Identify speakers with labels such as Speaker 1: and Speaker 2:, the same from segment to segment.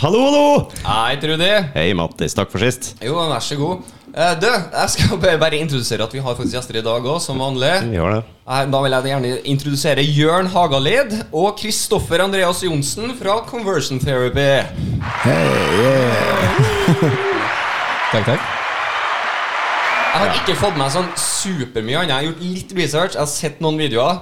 Speaker 1: Hallo, hallo!
Speaker 2: Hei, Trudy.
Speaker 1: Hei, Mattis. Takk for sist.
Speaker 2: Jo, vær så god. Eh, Du, jeg skal bare bare introdusere at vi har faktisk gjester i dag òg, som vanlig.
Speaker 1: Vi har det.
Speaker 2: Eh, Da vil jeg gjerne introdusere Jørn Hagalid og Kristoffer Andreas Johnsen fra Conversion Therapy.
Speaker 3: Takk, takk.
Speaker 2: Jeg har ikke fått med meg sånn supermye annet. Jeg har gjort litt research, jeg har sett noen videoer.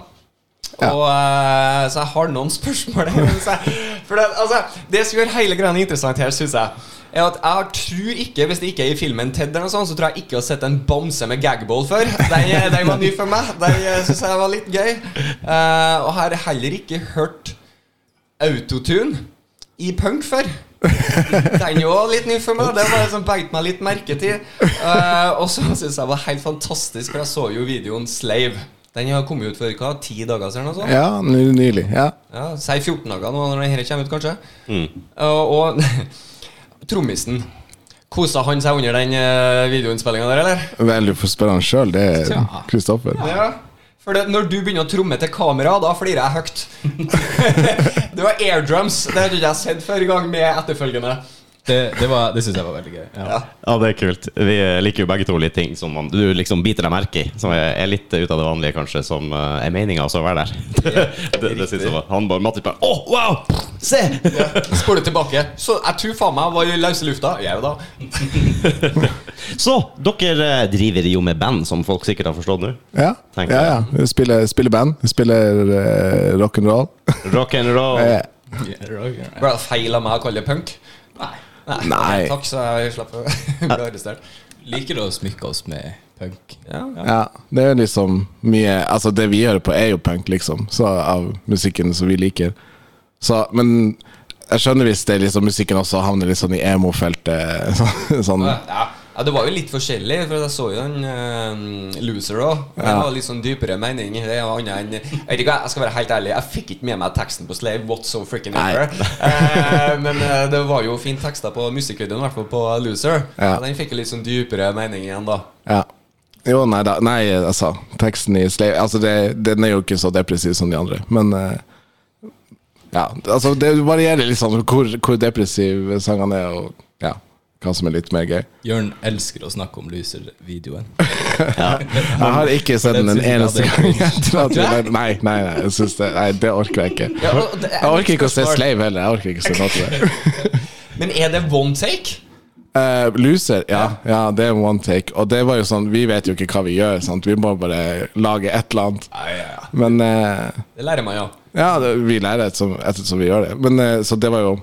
Speaker 2: Og, eh, så jeg har noen spørsmål. her, så jeg- For det, altså, det som gjør hele greia interessant her, syns jeg, er at jeg tror ikke, hvis det ikke er i filmen Ted, eller noe sånt, så tror jeg ikke jeg har sett en bamse med gagball før. Den den var ny for meg. Den syns jeg var litt gøy. Eh, og har heller ikke hørt autotune i punk før. Den er jo litt ny for meg. Det var det som beit meg litt merke til. Eh, og så syns jeg var helt fantastisk, for jeg så jo videoen 'Slave'. Den har kommet ut for hva, ti dager siden? eller noe sånt?
Speaker 3: Ja, ny- nylig. Ja.
Speaker 2: Ja, Si 14 dager nå når denne kommer ut, kanskje.
Speaker 4: Mm.
Speaker 2: Og, og trommisen. Kosa han seg under den uh, videoinnspillinga der, eller?
Speaker 3: Vel, du får spørre han sjøl. Det er
Speaker 2: Tja.
Speaker 3: Kristoffer.
Speaker 2: Ja. For det, når du begynner å tromme til kamera, da flirer jeg høyt. det var airdrums. Det hadde ikke jeg sett før i gang med etterfølgende.
Speaker 4: Det, det, var- det syns jeg var veldig gøy. Ja.
Speaker 1: Ja, det er kult. Vi eh, liker jo begge to litt ting som man, du liksom biter deg merke i. Som er er litt eh, ut av det vanlige, kanskje, som eh, er meninga også å være der. det det syns jeg var Han bare Mattis bare Å, wow! Se!
Speaker 2: Spole tilbake. Så jeg tror faen meg var i løse lufta. Jeg da.
Speaker 1: Så, dere eh, driver jo med band, som folk sikkert har forstått nå.
Speaker 3: Ja, ja.
Speaker 1: Tenker
Speaker 3: ja. Jeg Spiller, spiller band. Jeg Spiller uh, rock'n'roll.
Speaker 1: Rock and roll.
Speaker 3: Eh,
Speaker 2: Ble det feil av meg å kalle det punk? Nei.
Speaker 3: Nei.
Speaker 2: Takk, så jeg slapp å bli arrestert.
Speaker 4: Liker du å smykke oss med punk?
Speaker 3: ja. Det er liksom mye Altså, det vi hører på, er jo punk, liksom. Så av musikken som vi liker. Så, men jeg skjønner hvis det er liksom musikken også havner litt sånn i emo-feltet. Sånn, sånn.
Speaker 2: Ja. ja, det var jo litt forskjellig, for jeg så jo den eh, Loser òg. Det var litt sånn dypere mening. Det var annet enn Jeg vet ikke, hva, jeg skal være helt ærlig, jeg fikk ikke med meg teksten på Slave. What's so freaking ever? Eh, men eh, det var jo fine tekster på musikkvideoen, i hvert fall på Loser.
Speaker 3: Ja.
Speaker 2: Og Den fikk jo litt sånn dypere mening igjen, da.
Speaker 3: Ja. Jo, nei da. Nei, altså, teksten i Slave Altså, det, den er jo ikke så depressiv som de andre, men eh, Ja, altså, det varierer litt sånn hvor, hvor depressiv sangene er, og ja, hva som er litt mer gøy.
Speaker 4: Jørn elsker å snakke om Loser-videoen.
Speaker 3: Jeg har ikke sett den
Speaker 4: Den
Speaker 3: en
Speaker 4: synes
Speaker 3: eneste gang.
Speaker 4: jeg
Speaker 3: etter at vi- Nei, nei, nei, jeg synes det, nei, det orker jeg ikke.
Speaker 2: Ja, og det er
Speaker 3: Jeg orker ikke å se
Speaker 2: spørsmål.
Speaker 3: Slave heller. Jeg orker ikke å se noe til det.
Speaker 2: Men er det one take?
Speaker 3: Eh, loser, ja, ja. Det er one take. Og det var jo sånn, vi vet jo ikke hva vi gjør, sant. Vi må bare lage et eller annet. Men eh,
Speaker 2: Det lærer man jo.
Speaker 3: Ja, det, vi lærer etter som, etter som vi gjør det. Men, eh, så det var jo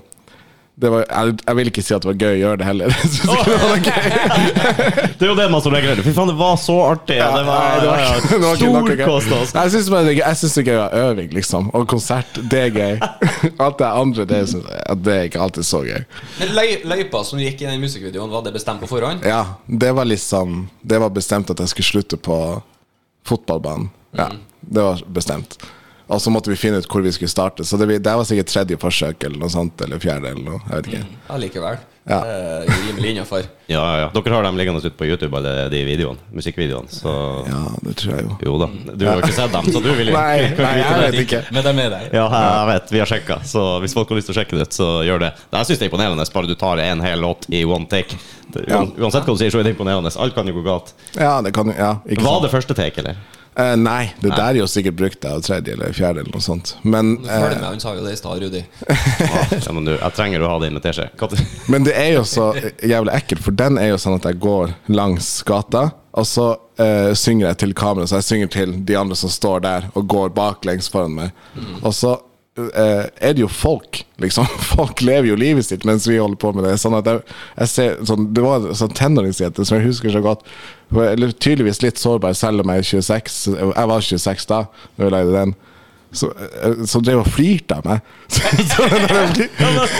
Speaker 3: det var, jeg, jeg vil ikke si at det var gøy å gjøre det heller. Jeg synes ikke det var noe gøy.
Speaker 1: Det er jo det man som regel gjør. Fy faen, det var så artig. Ja, det var, altså.
Speaker 3: Nei, det var ikke- det var ikke noe gøy.
Speaker 1: storkost oss.
Speaker 3: Nei, Jeg syns det, er gøy- jeg synes det er gøy å ha øving, liksom. Og konsert, det er gøy. Alt det andre, det, synes jeg, at det er ikke alltid så gøy.
Speaker 2: Men løy, løypa som gikk i den musikkvideoen, var det bestemt på forhånd?
Speaker 3: Ja, det var liksom Det var bestemt at jeg skulle slutte på fotballbanen. Ja, det var bestemt. Og så måtte vi finne ut hvor vi skulle starte. Så det, vi- det var sikkert tredje forsøk eller noe sånt. Eller fjerde, eller noe. Jeg vet ikke.
Speaker 2: Allikevel.
Speaker 3: Ja.
Speaker 2: Det er jo rimelig innafor.
Speaker 1: Ja, ja, ja. Dere har dem liggende ute på YouTube, alle de videoene, musikkvideoene. Så
Speaker 3: Ja, det tror jeg jo.
Speaker 1: jo da. Du har jo ikke sett dem, så du vil jo
Speaker 3: Nei,
Speaker 1: kan
Speaker 3: nei,
Speaker 1: vite
Speaker 3: jeg
Speaker 1: det.
Speaker 3: vet ikke.
Speaker 4: Men de er der.
Speaker 1: Ja, jeg vet. Vi har sjekka. Så hvis folk har lyst til å sjekke det ut, så gjør det. Det Jeg syns det er imponerende, bare du tar en hel låt i one take. Det-
Speaker 3: Ja.
Speaker 1: uan- Uansett hva du sier, så er det imponerende. Alt kan jo gå galt.
Speaker 3: Ja, det kan jo ja, ikke
Speaker 1: Var
Speaker 3: sant?
Speaker 1: det første take, eller?
Speaker 3: Eh, nei, det der er jo sikkert brukt av tredje eller fjerde eller noe sånt. Men,
Speaker 2: Følg
Speaker 3: eh,
Speaker 2: med, han sa jo det i stad, Rudi.
Speaker 1: Ja, men du, jeg trenger å ha det invitert seg. Hva-
Speaker 3: men det er jo så jævlig ekkelt, for den er jo sånn at jeg går langs gata, og så eh, synger jeg til kameraet, så jeg synger til de andre som står der og går baklengs foran meg. Og så eh, er det jo folk, liksom. Folk lever jo livet sitt mens vi holder på med det. Sånn at jeg, jeg ser, sånn, det var en sånn tenåringsjente som jeg husker så godt. Hun er Eller tydeligvis litt sårbar, selv om jeg er 26. Jeg var 26 da, da vi lagde den. Så, eh, som drev og flirte av meg. Så, så, den der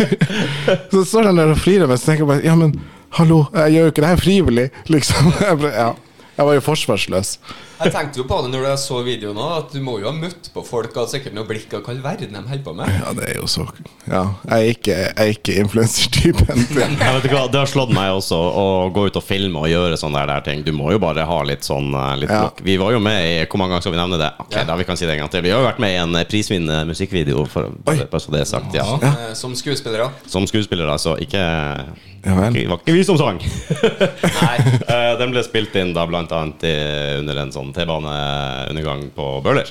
Speaker 3: flir- så står den der og flirer av meg, så tenker jeg bare Ja, men hallo, jeg gjør jo ikke det her frivillig, liksom. Jeg, bare, ja. jeg var jo forsvarsløs.
Speaker 2: Jeg tenkte jo på det når jeg så videoen òg, at du må jo ha møtt på folk og sikkert noe blikk av hva i all verden de holder på med.
Speaker 3: Ja, det er jo så Ja, jeg er ikke, jeg er ikke influensertypen. til-
Speaker 1: Jeg vet ikke hva, Det har slått meg også å gå ut og filme og gjøre sånne der, der ting. Du må jo bare ha litt sånn eh, litt
Speaker 3: Ja.
Speaker 1: blokk. Vi var jo med i Hvor mange ganger skal vi nevne det? Ok,
Speaker 2: Ja.
Speaker 1: da Vi kan si det en gang til Vi har jo vært med i en eh, prisvinnende musikkvideo, for,
Speaker 3: Oi.
Speaker 1: bare så det er sagt. Ja.
Speaker 2: Eh, Som skuespillere.
Speaker 1: Som skuespiller, altså. Ikke
Speaker 3: Ja vel.
Speaker 1: Det var ikke vi som sang!
Speaker 2: Nei.
Speaker 1: Eh, Den ble spilt inn da blant annet i, under en sånn T-baneundergang på Bøhler.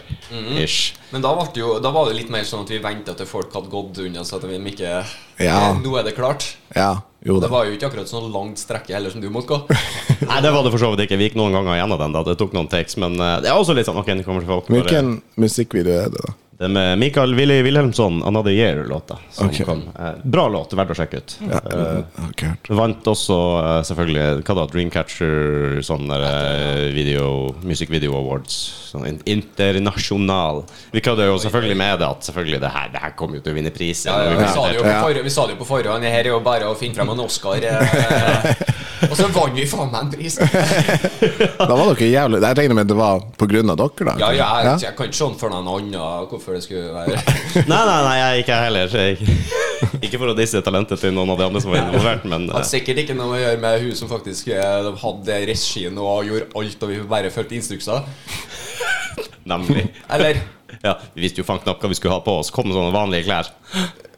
Speaker 1: Ish.
Speaker 2: Men da, ble det jo, da var det litt mer sånn at vi venta til folk hadde gått unna, så at de ikke
Speaker 3: Ja.
Speaker 2: Eh, Nå er det klart.
Speaker 3: Ja, jo
Speaker 2: Det
Speaker 3: da.
Speaker 2: var jo ikke akkurat sånn langt strekke heller som du måtte gå.
Speaker 1: Nei, det var det for så vidt ikke. Vi gikk noen ganger gjennom den. da Det tok noen takes, men eh, det er også litt sånn Ok, nå kommer folk bare-
Speaker 3: Hvilken musikkvideo er det, da?
Speaker 1: Det med Mikael Willy Wilhelmsson, 'Another Year'-låta. Som
Speaker 3: Ok.
Speaker 1: kom Eh, Bra låt, verdt å sjekke ut.
Speaker 3: Ja, jeg har ikke hørt.
Speaker 1: Vant også eh, selvfølgelig hva da, Dreamcatcher sånn der, eh, video, Music Video Awards. Sånn in- internasjonal. Vi kødder jo selvfølgelig med det at selvfølgelig det her, det her kommer jo til å vinne pris.
Speaker 2: Ja, ja, vi, sa det jo på
Speaker 3: Ja.
Speaker 2: forhånd, vi sa det jo på forhånd. Det her er jo bare å finne frem en Oscar. eh, Og så vant vi faen meg en pris!
Speaker 3: Da var dere jævlig Jeg regner med det var på grunn av dere, da?
Speaker 2: Ja, ja,
Speaker 3: Ja?
Speaker 2: jeg, jeg kan ikke se for noen annen hvorfor det skulle være
Speaker 1: Nei, nei, nei, jeg, ikke jeg heller. Jeg, ikke for å disse talentet til noen av de andre som var involvert, men eh,
Speaker 2: Hadde sikkert ikke noe å gjøre med hun som faktisk eh, hadde regien og gjorde alt, og vi bare fulgte instrukser.
Speaker 1: nemlig.
Speaker 2: Eller
Speaker 1: Ja, vi visste jo faen knapt hva vi skulle ha på oss. Kom med sånne vanlige klær.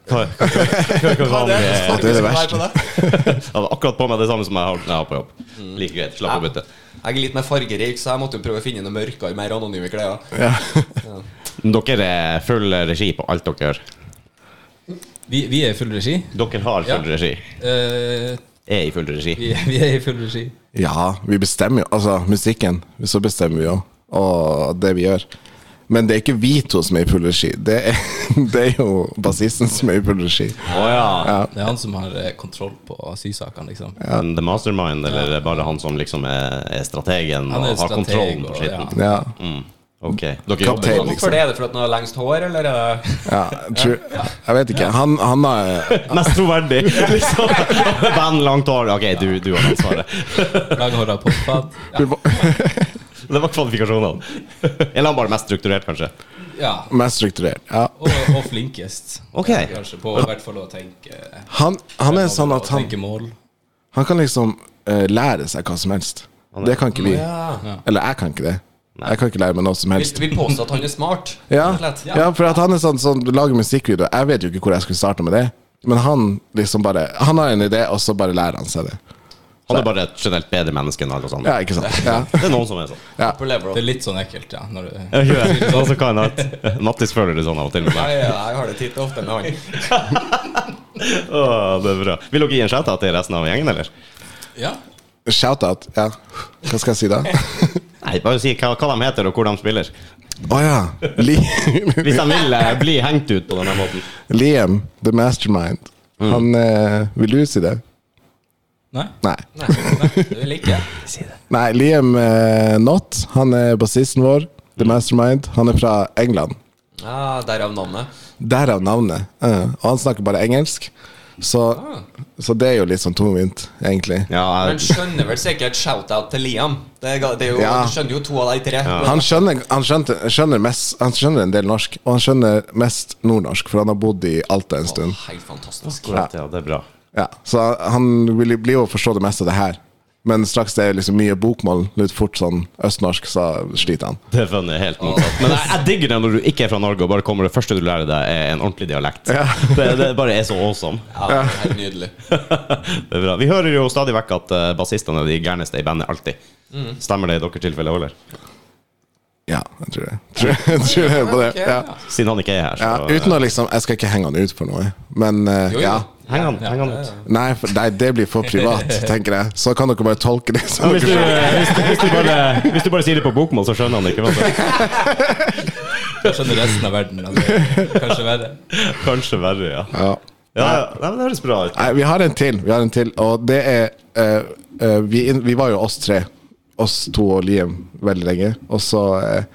Speaker 1: Hva, hva, hva, hva, hva, vanlige-
Speaker 3: det er det verste.
Speaker 1: Jeg hadde akkurat på meg det samme som jeg har når jeg er på jobb.
Speaker 2: Mm.
Speaker 1: Like greit, slapp å bytte.
Speaker 2: Jeg er litt mer fargerik, så jeg måtte jo prøve å finne noe mørkere, mer anonyme klær.
Speaker 1: Men Dere er full regi på alt dere gjør.
Speaker 4: Vi, vi er i full regi.
Speaker 1: Dere har full
Speaker 4: Ja.
Speaker 1: regi.
Speaker 4: Eh,
Speaker 1: Er i full regi.
Speaker 4: vi, vi er i full regi.
Speaker 3: Ja, vi bestemmer jo Altså, musikken, så bestemmer vi jo. Og det vi gjør. Men det er ikke vi to som er i full regi. Det er, det er jo bassisten som er i full regi.
Speaker 1: Å ja.
Speaker 4: Det er han som har eh, kontroll på sysakene, liksom.
Speaker 1: Men the mastermind, eller er det bare han som liksom er, er strategen
Speaker 4: Han er
Speaker 1: og har
Speaker 4: strateg
Speaker 1: kontrollen
Speaker 4: og-
Speaker 1: på skitten?
Speaker 3: Ja.
Speaker 1: Mm. Ok. Dere jobber
Speaker 3: Kaptein. liksom.
Speaker 1: sammen.
Speaker 2: Hvorfor det? Er det for at han har lengst hår, eller er det
Speaker 3: ja, jeg tror- Jeg vet ikke. Han, han har
Speaker 1: Mest troverdig, liksom. Band langt hår. Ok, du, du har ansvaret.
Speaker 4: Langhåra popfat.
Speaker 1: Det var kvalifikasjonene. Eller han bare mest strukturert, kanskje.
Speaker 4: Ja.
Speaker 3: mest strukturert. Ja.
Speaker 4: Og, og flinkest.
Speaker 1: Ok.
Speaker 4: Kanskje på i hvert fall å tenke
Speaker 3: Han, han er sånn at han,
Speaker 4: Tenke mål.
Speaker 3: han kan liksom eh, lære seg hva som helst. Det kan ikke vi.
Speaker 2: Ja.
Speaker 3: Eller jeg kan ikke det. Jeg kan ikke lære meg noe som
Speaker 2: Vil,
Speaker 3: helst.
Speaker 2: vil påstå at han er smart.
Speaker 3: Ja,
Speaker 2: rett og slett.
Speaker 3: ja for at han er sånn, sånn du lager musikkvideo. Jeg vet jo ikke hvor jeg skulle starte med det. Men han liksom bare Han har en idé, og så bare lærer han seg det.
Speaker 1: Han er bare et generelt bedre menneske enn alle oss andre.
Speaker 3: Ja, ikke sant? Ja.
Speaker 1: Det er noen som er sånn.
Speaker 2: Upper level.
Speaker 4: Det er litt sånn ekkelt, ja. Når du,
Speaker 1: Jeg gjør det. Sånn som Kain har hatt. Mattis føler det sånn av og til. med
Speaker 2: Nei,
Speaker 1: meg.
Speaker 2: ja, jeg har det titt og ofte med han.
Speaker 1: Åh, det er bra. Vil dere gi en shout-out til resten av gjengen, eller?
Speaker 4: ja.
Speaker 3: Shout-out. Ja. Hva skal jeg si da?
Speaker 1: Nei, bare si hva, hva de heter, og hvor de spiller.
Speaker 3: Å ja. Li
Speaker 1: Hvis de vil eh, bli hengt ut på denne måten.
Speaker 3: Liam, the mastermind. Han eh, Vil du si det?
Speaker 4: Nei?
Speaker 3: Nei.
Speaker 2: Nei, nei, det vil ikke jeg.
Speaker 3: Nei, Liam eh, Not. Han er bassisten vår. The mastermind. Han er fra England.
Speaker 2: Ja, Derav navnet.
Speaker 3: Derav navnet. Eh, og han snakker bare engelsk. Så, så det er jo litt sånn tungvint, egentlig.
Speaker 1: Ja,
Speaker 2: Men
Speaker 1: jeg,
Speaker 2: skjønner vel sikkert shout-out til Liam. Det er, ga- det er jo,
Speaker 3: Ja.
Speaker 2: Du skjønner jo to av de tre.
Speaker 3: Han skjønner, han, skjønte, skjønner mest, han skjønner en del norsk, og han skjønner mest nordnorsk, for han har bodd i Alta en stund.
Speaker 2: Helt fantastisk.
Speaker 1: akkurat, ja, det er bra.
Speaker 3: Ja, så han vil blir jo forstå det meste av det her. Men straks det er liksom mye bokmål, litt fort sånn østnorsk, så sliter han.
Speaker 1: Det er funny, helt motsatt. Men jeg, jeg digger det når du ikke er fra Norge, og bare kommer det første du lærer deg, er en ordentlig dialekt. Det, det bare er så awesome.
Speaker 2: Ja, helt nydelig.
Speaker 1: Det er bra. Vi hører jo stadig vekk at eh, bassistene er de gærneste i bandet alltid.
Speaker 3: Mm.
Speaker 1: Stemmer det i deres tilfelle, Oller?
Speaker 3: Ja, jeg tror det. Tror, jeg tror det på det. Ja.
Speaker 1: Siden han ikke er her,
Speaker 3: Ja,
Speaker 1: så
Speaker 3: uten å liksom Jeg skal ikke henge han ut for noe, men eh,
Speaker 2: Jo, jo.
Speaker 3: ja.
Speaker 1: heng han, heng han ut.
Speaker 3: Nei, for, nei, det blir for privat, tenker jeg. Så kan dere bare tolke det.
Speaker 1: Ja,
Speaker 3: Som
Speaker 1: hvis, du, eh,
Speaker 3: dere
Speaker 1: hvis, du- hvis, du bare, hvis du bare sier det på bokmål, så skjønner han det ikke. vet du.
Speaker 4: Jeg skjønner resten av verden. Altså. Kanskje verre.
Speaker 1: Kanskje verre, ja.
Speaker 3: ja.
Speaker 1: ja ja. Nei, men Det høres bra ut.
Speaker 3: Nei, vi har en til, vi har en til og det er eh, eh, vi, vi var jo oss tre, oss to og Liam, veldig lenge. Og så eh,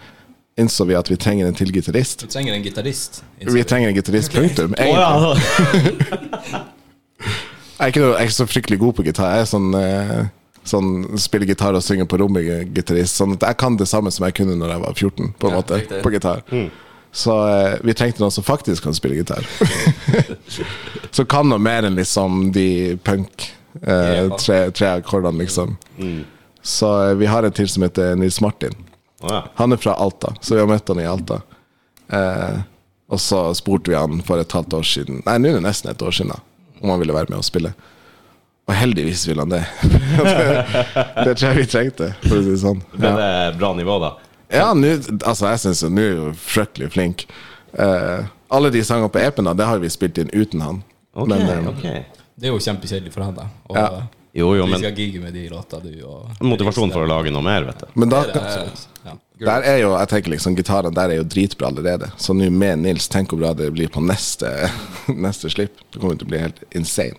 Speaker 3: innså vi at vi trenger en til gitarist.
Speaker 4: Du trenger en gitarist.
Speaker 3: Vi trenger en gitarist, punktum.
Speaker 1: Å,
Speaker 3: egentlig.
Speaker 1: ja.
Speaker 3: Jeg er ikke, noe, jeg er ikke så fryktelig god på gitar. Jeg er sånn eh, sånn, spiller gitar og synger på rommet. gitarist Sånn at jeg kan det samme som jeg kunne når jeg var 14, på en
Speaker 2: Ja,
Speaker 3: måte.
Speaker 2: riktig.
Speaker 3: På gitar. Så eh, vi trengte noen som faktisk kan spille gitar. som kan noe mer enn liksom de punk eh,
Speaker 2: Ja.
Speaker 3: tre, tre akkordene, liksom. Så eh, vi har en til som heter Nils Martin.
Speaker 1: Å ja.
Speaker 3: Han er fra Alta, så vi har møtt han i Alta. Eh, og så spurte vi han for et halvt år siden Nei, nå er det nesten et år siden da, om han ville være med og spille. Og heldigvis ville han det. det tror jeg vi trengte, for å si det sånn.
Speaker 1: Ble det bra nivå, da?
Speaker 3: Ja, nå Altså, jeg syns jo nå er jo fryktelig flink. Eh, alle de sangene på EP-en, da, det har vi spilt inn uten han.
Speaker 1: Ok,
Speaker 3: Men, eh,
Speaker 1: ok
Speaker 4: Det er jo kjempekjedelig for han, da. Og,
Speaker 3: Ja.
Speaker 1: Jo, jo,
Speaker 4: du
Speaker 1: men
Speaker 4: skal gigge med de låta, du. Og,
Speaker 1: motivasjon for å lage noe mer, vet du.
Speaker 3: Men da
Speaker 4: Det er,
Speaker 2: altså.
Speaker 4: absolutt, ja.
Speaker 3: Der er jo, jeg tenker liksom Gitarene der er jo dritbra allerede. Så nå med Nils, tenk hvor bra det blir på neste, neste slipp. Det kommer til å bli helt insane.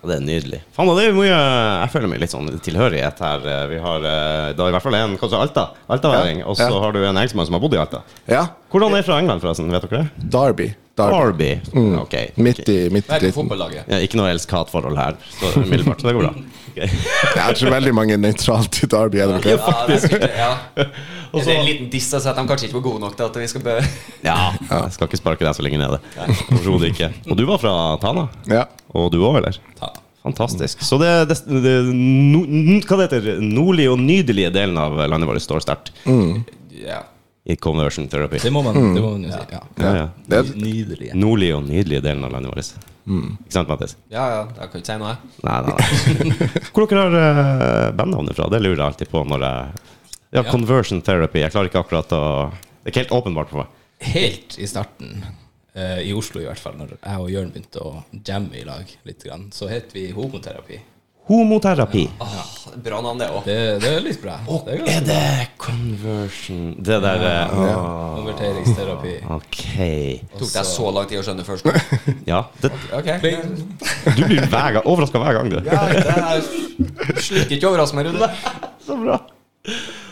Speaker 1: Og Det er nydelig. Faen, og det er mye Jeg føler meg litt sånn tilhørighet her. Vi har eh, da i hvert fall en kanskje Alta. Altaværing.
Speaker 3: Ja,
Speaker 1: Og så
Speaker 3: ja.
Speaker 1: har du en engelskmann som har bodd i Alta.
Speaker 3: Ja,
Speaker 1: Hvordan er fra England, forresten? Vet dere det?
Speaker 3: Derby. Derby.
Speaker 1: Arby. Ok.
Speaker 3: Mm. Midt i midt i
Speaker 4: Det er på
Speaker 3: dritten.
Speaker 4: fotballaget.
Speaker 1: Ja, ikke noe elsk-hat-forhold her, så umiddelbart. Så det går bra. Ok.
Speaker 3: Jeg tror veldig mange er nøytralt i Derby. Er det ikke?
Speaker 2: Ja, det er sikkert, ja.
Speaker 1: Og
Speaker 2: Er det en
Speaker 1: så-
Speaker 2: liten diss altså, at de kanskje ikke var gode nok til at vi skal be
Speaker 1: Ja, jeg skal ikke sparke deg så lenge nede. Overhodet ikke. Og du var fra Tana?
Speaker 3: Ja.
Speaker 1: Og du òg, eller?
Speaker 4: Ta.
Speaker 1: Fantastisk. Så det, det, det no, n- Hva det heter nordlige og nydelige delen av landet vårt står sterkt
Speaker 2: Ja. Mm.
Speaker 1: i conversion therapy.
Speaker 4: Det må man, det må man jo si. Ja.
Speaker 1: Ja, ja.
Speaker 3: Det,
Speaker 4: Ny- Nydelig.
Speaker 1: Nordlige og nydelige delen av landet vårt. Ikke sant, Mattis?
Speaker 2: ja, ja, jeg kan ikke si noe, jeg.
Speaker 1: Nei, nei, nei. Hvor dere har uh, bandnavnet fra? Det lurer jeg alltid på når jeg Ja, conversion therapy. Jeg klarer ikke akkurat å Det er ikke helt åpenbart for meg.
Speaker 4: Helt i starten, eh, i Oslo i hvert fall, når jeg og Jørn begynte å jamme i lag litt, grann, så het vi homoterapi.
Speaker 1: Homoterapi.
Speaker 2: Åh, Bra navn, det òg.
Speaker 4: Det, det er litt bra. Det er
Speaker 1: Er
Speaker 4: ganske
Speaker 1: det conversion Det der eh,
Speaker 4: bra. Konverteringsterapi.
Speaker 1: ah, Ok.
Speaker 2: Tok deg så lang tid å skjønne først. nå.
Speaker 1: Ja. Det,
Speaker 2: Ok
Speaker 1: du blir hver gang, overraska hver gang, du.
Speaker 2: Ja, det er Slutter ikke å overraske meg, Rune.
Speaker 1: Så bra.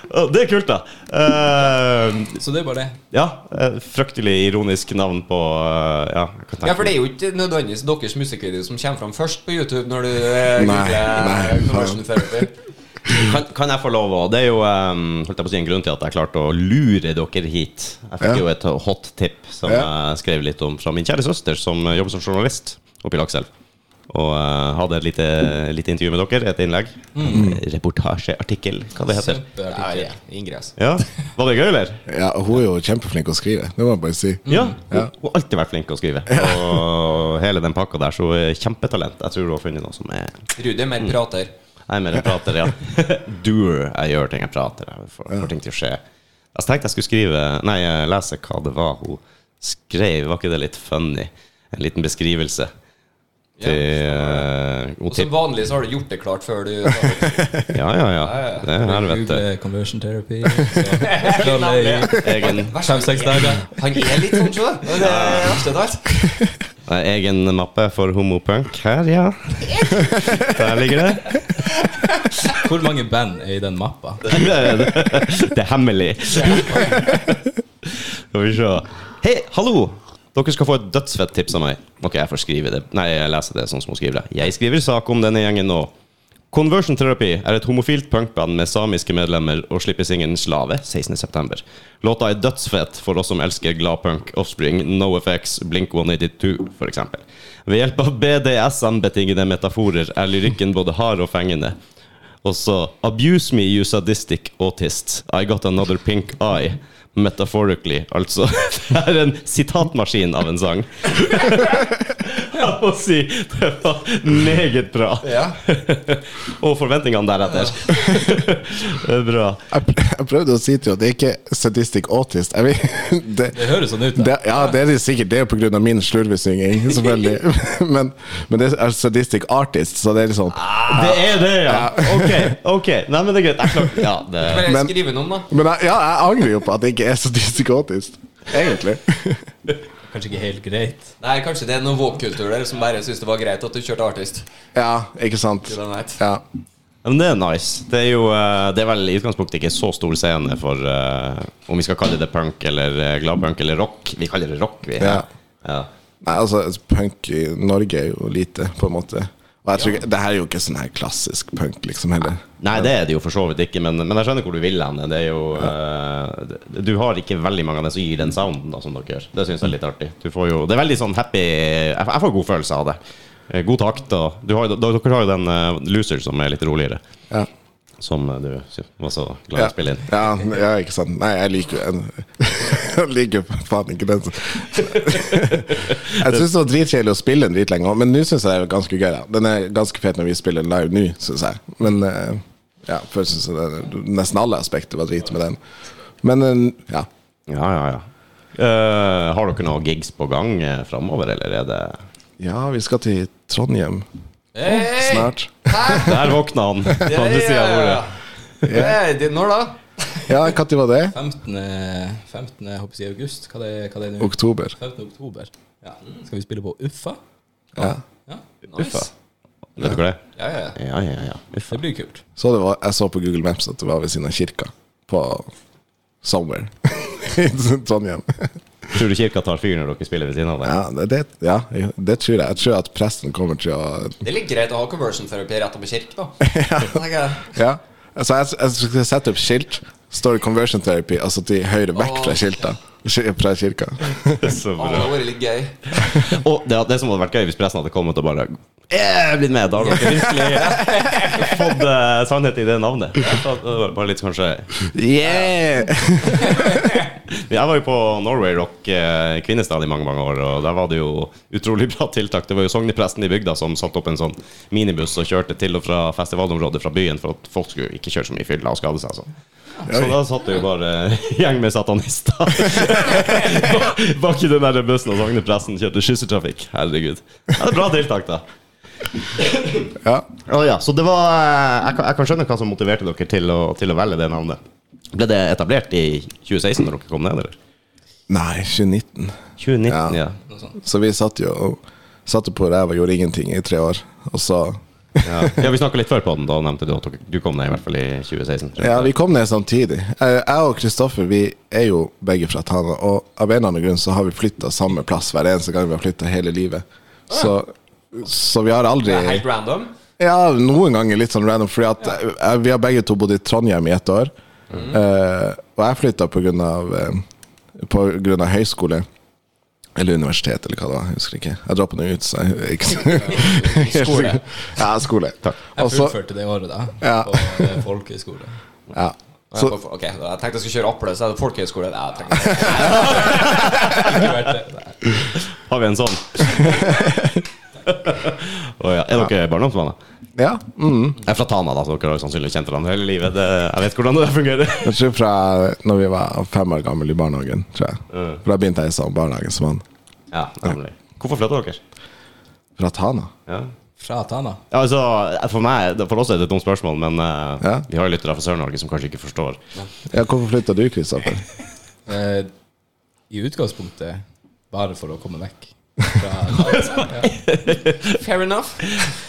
Speaker 1: Å, Det er kult, da. Eh,
Speaker 4: Så det er bare det.
Speaker 1: ja, eh, fryktelig ironisk navn på eh, Ja, hva tenker
Speaker 2: Ja, for det
Speaker 1: du?
Speaker 2: er jo ikke nødvendigvis deres musikkvideo som kommer fram først på YouTube når du eh,
Speaker 3: Nei,
Speaker 2: googler
Speaker 3: nei,
Speaker 2: conversion
Speaker 3: faen.
Speaker 2: therapy.
Speaker 1: kan, kan jeg få lov å Det er jo eh, holdt jeg på å si en grunn til at jeg klarte å lure dere hit. Jeg fikk
Speaker 3: Ja.
Speaker 1: jo et hot tip som
Speaker 3: Ja.
Speaker 1: jeg skrev litt om fra min kjære søster, som eh, jobber som journalist oppe i Lakselv. Og eh, hadde et lite, lite intervju med dere, et innlegg.
Speaker 3: Mm.
Speaker 1: Reportasjeartikkel, hva det heter.
Speaker 4: Kjempeartikkel.
Speaker 2: Ja, Ingress.
Speaker 1: Ja, Var det gøy, eller?
Speaker 3: ja, og hun er jo kjempeflink å skrive, det må jeg bare si.
Speaker 1: Ja, Mm. hun hun har alltid vært flink til å skrive. Og hele den pakka der, så eh, kjempetalent. Jeg tror hun har funnet noe som er
Speaker 2: Rudi er mer
Speaker 3: Mm.
Speaker 2: prater.
Speaker 1: Jeg er mer en prater, ja. Doer. Jeg gjør ting jeg prater. Jeg får, får ting til å skje. Jeg tenkte jeg skulle skrive Nei, eh, lese hva det var hun skrev. Var ikke det litt funny? En liten beskrivelse til eh, hun
Speaker 2: Og som
Speaker 1: tipp-
Speaker 2: vanlig så har du gjort det klart før du Nei,
Speaker 1: Ja, ja, ja. Det er helvete.
Speaker 4: Google conversion therapy. så skal det i
Speaker 1: eh, Egen,
Speaker 4: Fem-seks dager.
Speaker 2: Han er litt sånn, sjøl. Det er det verste av alt.
Speaker 1: nei, Eh, egen mappe for homopunk her, ja. Der ligger det.
Speaker 4: Hvor mange band er i den mappa?
Speaker 1: det, det, det er hemmelig. Skal vi se. Hei, hallo! Dere skal få et dødsfett tips av meg. Ok, jeg får skrive det. Nei, jeg leser det sånn som hun skriver det. Jeg skriver sak om denne gjengen nå. Conversion Therapy er et homofilt punkband med samiske medlemmer og slipper singelen Slave 16.9. Låta er dødsfett for oss som elsker gladpunk, Offspring, NoFX, Blink 182 f.eks. Ved hjelp av BDSM-betingede metaforer er lyrikken både hard og fengende. Og så Abuse me, you sadistic autist. I got another pink eye. Metaphorically, altså. Det er en sitatmaskin av en sang. Jeg må si det var meget bra.
Speaker 2: Ja.
Speaker 1: Og forventningene deretter. Det er bra.
Speaker 3: Jeg, pr jeg prøvde å si til henne at det er ikke sadistic autist. Jeg vet, det,
Speaker 4: Det høres sånn ut. da.
Speaker 3: det, ja, det er det sikkert. Det er jo pga. min slurvesynging, selvfølgelig. Men, men det er sadistic artist, så det er liksom
Speaker 1: Det er det, ja! Ok. ok Nei, men det er greit. Jeg klarte ja, det.
Speaker 2: Bare
Speaker 3: Men-
Speaker 2: skrive noen, da.
Speaker 3: Men jeg, ja, jeg angrer jo på at det ikke er sadistic autist, egentlig.
Speaker 4: Kanskje ikke helt greit.
Speaker 2: Nei, kanskje det er noen woke-kultur der som bare syns det var greit at du kjørte artist.
Speaker 3: Ja, ikke sant?
Speaker 2: Good night.
Speaker 3: Ja.
Speaker 1: Ja, Men det er nice. Det er jo eh, Det er vel i utgangspunktet ikke så stor scene for eh, om vi skal kalle det punk eller eh, gladpunk eller rock. Vi kaller det rock, vi.
Speaker 3: Ja.
Speaker 1: Ja.
Speaker 3: Nei, altså, punk i Norge er jo lite, på en måte. Og jeg tror ikke, det her er jo ikke sånn her klassisk punk, liksom, heller.
Speaker 1: Nei, det er det jo for så vidt ikke, men, men jeg skjønner hvor du vil hen. Det er jo eh, det- Du har ikke veldig mange av dem som gir den sounden da, som dere gjør. Det syns jeg er litt artig. Du får jo, det er veldig sånn happy Jeg, jeg får god følelse av det. Eh, God takt og du har, jo- Dere har jo den eh, Loser som er litt roligere,
Speaker 3: Ja.
Speaker 1: som eh, du sy- var så glad i
Speaker 3: Ja.
Speaker 1: å spille inn.
Speaker 3: Ja, ja, ikke sant. Nei, jeg liker jo Jeg liker jo faen ikke den. som- Jeg syns det var dritkjedelig å spille den dritlenge, også, men nå syns jeg det er ganske gøy. Da. Den er ganske fet når vi spiller den live nå, syns jeg. Men eh, ja, før syns jeg det, nesten alle aspekter var drit med den. Men eh, ja.
Speaker 1: Ja, ja, ja. Eh, har dere noen gigs på gang uh, framover, eller er det
Speaker 3: Ja, vi skal til Trondheim
Speaker 2: Hey!
Speaker 3: snart.
Speaker 2: Hæ?
Speaker 1: Der våkna han på
Speaker 2: Ja,
Speaker 1: andre sida av
Speaker 2: ja,
Speaker 1: bordet.
Speaker 2: ja. Hey, det- Når da?
Speaker 3: Ja, når var det?
Speaker 4: 15. 15. jeg håper jeg sier august. Hva det, hva det er nå?
Speaker 3: Oktober.
Speaker 4: 15. oktober. Ja. Skal vi spille på Uffa?
Speaker 3: Ja.
Speaker 4: Ja.
Speaker 1: Uffa.
Speaker 2: Nice.
Speaker 1: Vet dere det?
Speaker 2: Ja, ja.
Speaker 1: Ja, ja, ja. Uffa.
Speaker 4: Det blir kult.
Speaker 3: Så det var, jeg så på Google Maps at det var ved siden av kirka. På Somewhere i Trondheim.
Speaker 1: Tror du kirka tar fyr når dere spiller ved siden av der?
Speaker 3: Ja, det, det, ja, det tror jeg. Jeg tror at presten kommer til å
Speaker 2: Det er litt greit å ha conversion-terapi rett opp i kirke, da. Tenker jeg.
Speaker 3: Ja. Så jeg, jeg skal sette opp skilt. Står det 'conversion therapy', altså til høyre vekk fra skilta. Sk- Fra kirka.
Speaker 1: Så
Speaker 2: Å,
Speaker 1: bra.
Speaker 2: Det hadde vært litt gøy.
Speaker 1: Og det, det som hadde vært gøy hvis pressen hadde kommet og bare «Eh, blitt med, da har dere virkelig fått eh, sannhet i det navnet. Så det var Bare litt kanskje
Speaker 3: Yeah!
Speaker 1: Jeg var jo på Norway Rock eh, Kvinesdal i mange mange år, og der var det jo utrolig bra tiltak. Det var jo sognepresten i bygda som satte opp en sånn minibuss og kjørte til og fra festivalområdet fra byen for at folk skulle ikke kjøre så mye i fylla og skade seg. og sånn. Så da satt det jo bare gjeng med satanister bak i den der bussen, og sognepresten kjørte skyssetrafikk. Herregud. Ja, det er bra tiltak, da.
Speaker 3: Ja.
Speaker 1: Å ja, så det var eh, jeg kan, jeg kan skjønne hva som motiverte dere til å, til å velge det navnet. Ble det etablert i 2016 da dere kom ned, eller?
Speaker 3: Nei, 2019.
Speaker 1: 2019,
Speaker 3: Ja.
Speaker 1: ja.
Speaker 4: Noe sånt.
Speaker 3: Så vi satt jo og satt jo på ræva og gjorde ingenting i tre år. Og så
Speaker 1: Ja, Vi snakka litt før på den, da nevnte du at dere- du kom ned i hvert fall i 2016. tror jeg.
Speaker 3: Ja, vi kom ned samtidig. Eh, Jeg og Kristoffer vi er jo begge fra Tana, og av en eller annen grunn så har vi flytta samme plass hver eneste gang vi har flytta hele livet. Så, så vi har aldri
Speaker 2: Det er helt random.
Speaker 3: Ja, noen ganger litt sånn random, fordi at eh, vi har begge to bodd i Trondheim i ett år.
Speaker 4: Mhm.
Speaker 3: Eh, og jeg flytta på grunn av eh, På grunn av høyskole. Eller universitet, eller hva det var. Jeg husker ikke. Jeg droppa nå ut, så jeg er ikke så
Speaker 4: Skole.
Speaker 3: Ja, skole. Og
Speaker 4: Jeg
Speaker 3: så-
Speaker 4: fullførte det året, da.
Speaker 3: Ja.
Speaker 4: På eh, folkehøyskole.
Speaker 3: ja.
Speaker 2: Ja,
Speaker 3: Så,
Speaker 2: for- Ok, da, Jeg tenkte jeg skulle kjøre Aple, så er det folkehøyskole. Nei, jeg tenkte
Speaker 4: Ikke vært det. Nei.
Speaker 1: Har vi en sånn? Å ja. Er dere barndomsvenner?
Speaker 3: ja. Mm.
Speaker 1: Jeg er fra Tana, da, så dere har jo sannsynligvis kjent hverandre hele livet. Det, jeg vet hvordan det der fungerer.
Speaker 3: Jeg tror fra når vi var fem år gamle i barnehagen, tror jeg.
Speaker 4: Mm.
Speaker 3: For da begynte jeg i samme barnehage som han.
Speaker 1: Ja, nemlig. Hvorfor flytta dere?
Speaker 3: Fra Tana.
Speaker 1: Ja.
Speaker 4: Fra Tana.
Speaker 1: Ja, altså, for meg, for oss er det et dumt spørsmål, men eh,
Speaker 3: Ja.
Speaker 1: vi har jo lyttere fra Sør-Norge som kanskje ikke forstår.
Speaker 3: Ja, hvorfor flytta du, Kristoffer?
Speaker 4: Eh, I utgangspunktet bare for å komme vekk. Fra,
Speaker 2: Fair enough.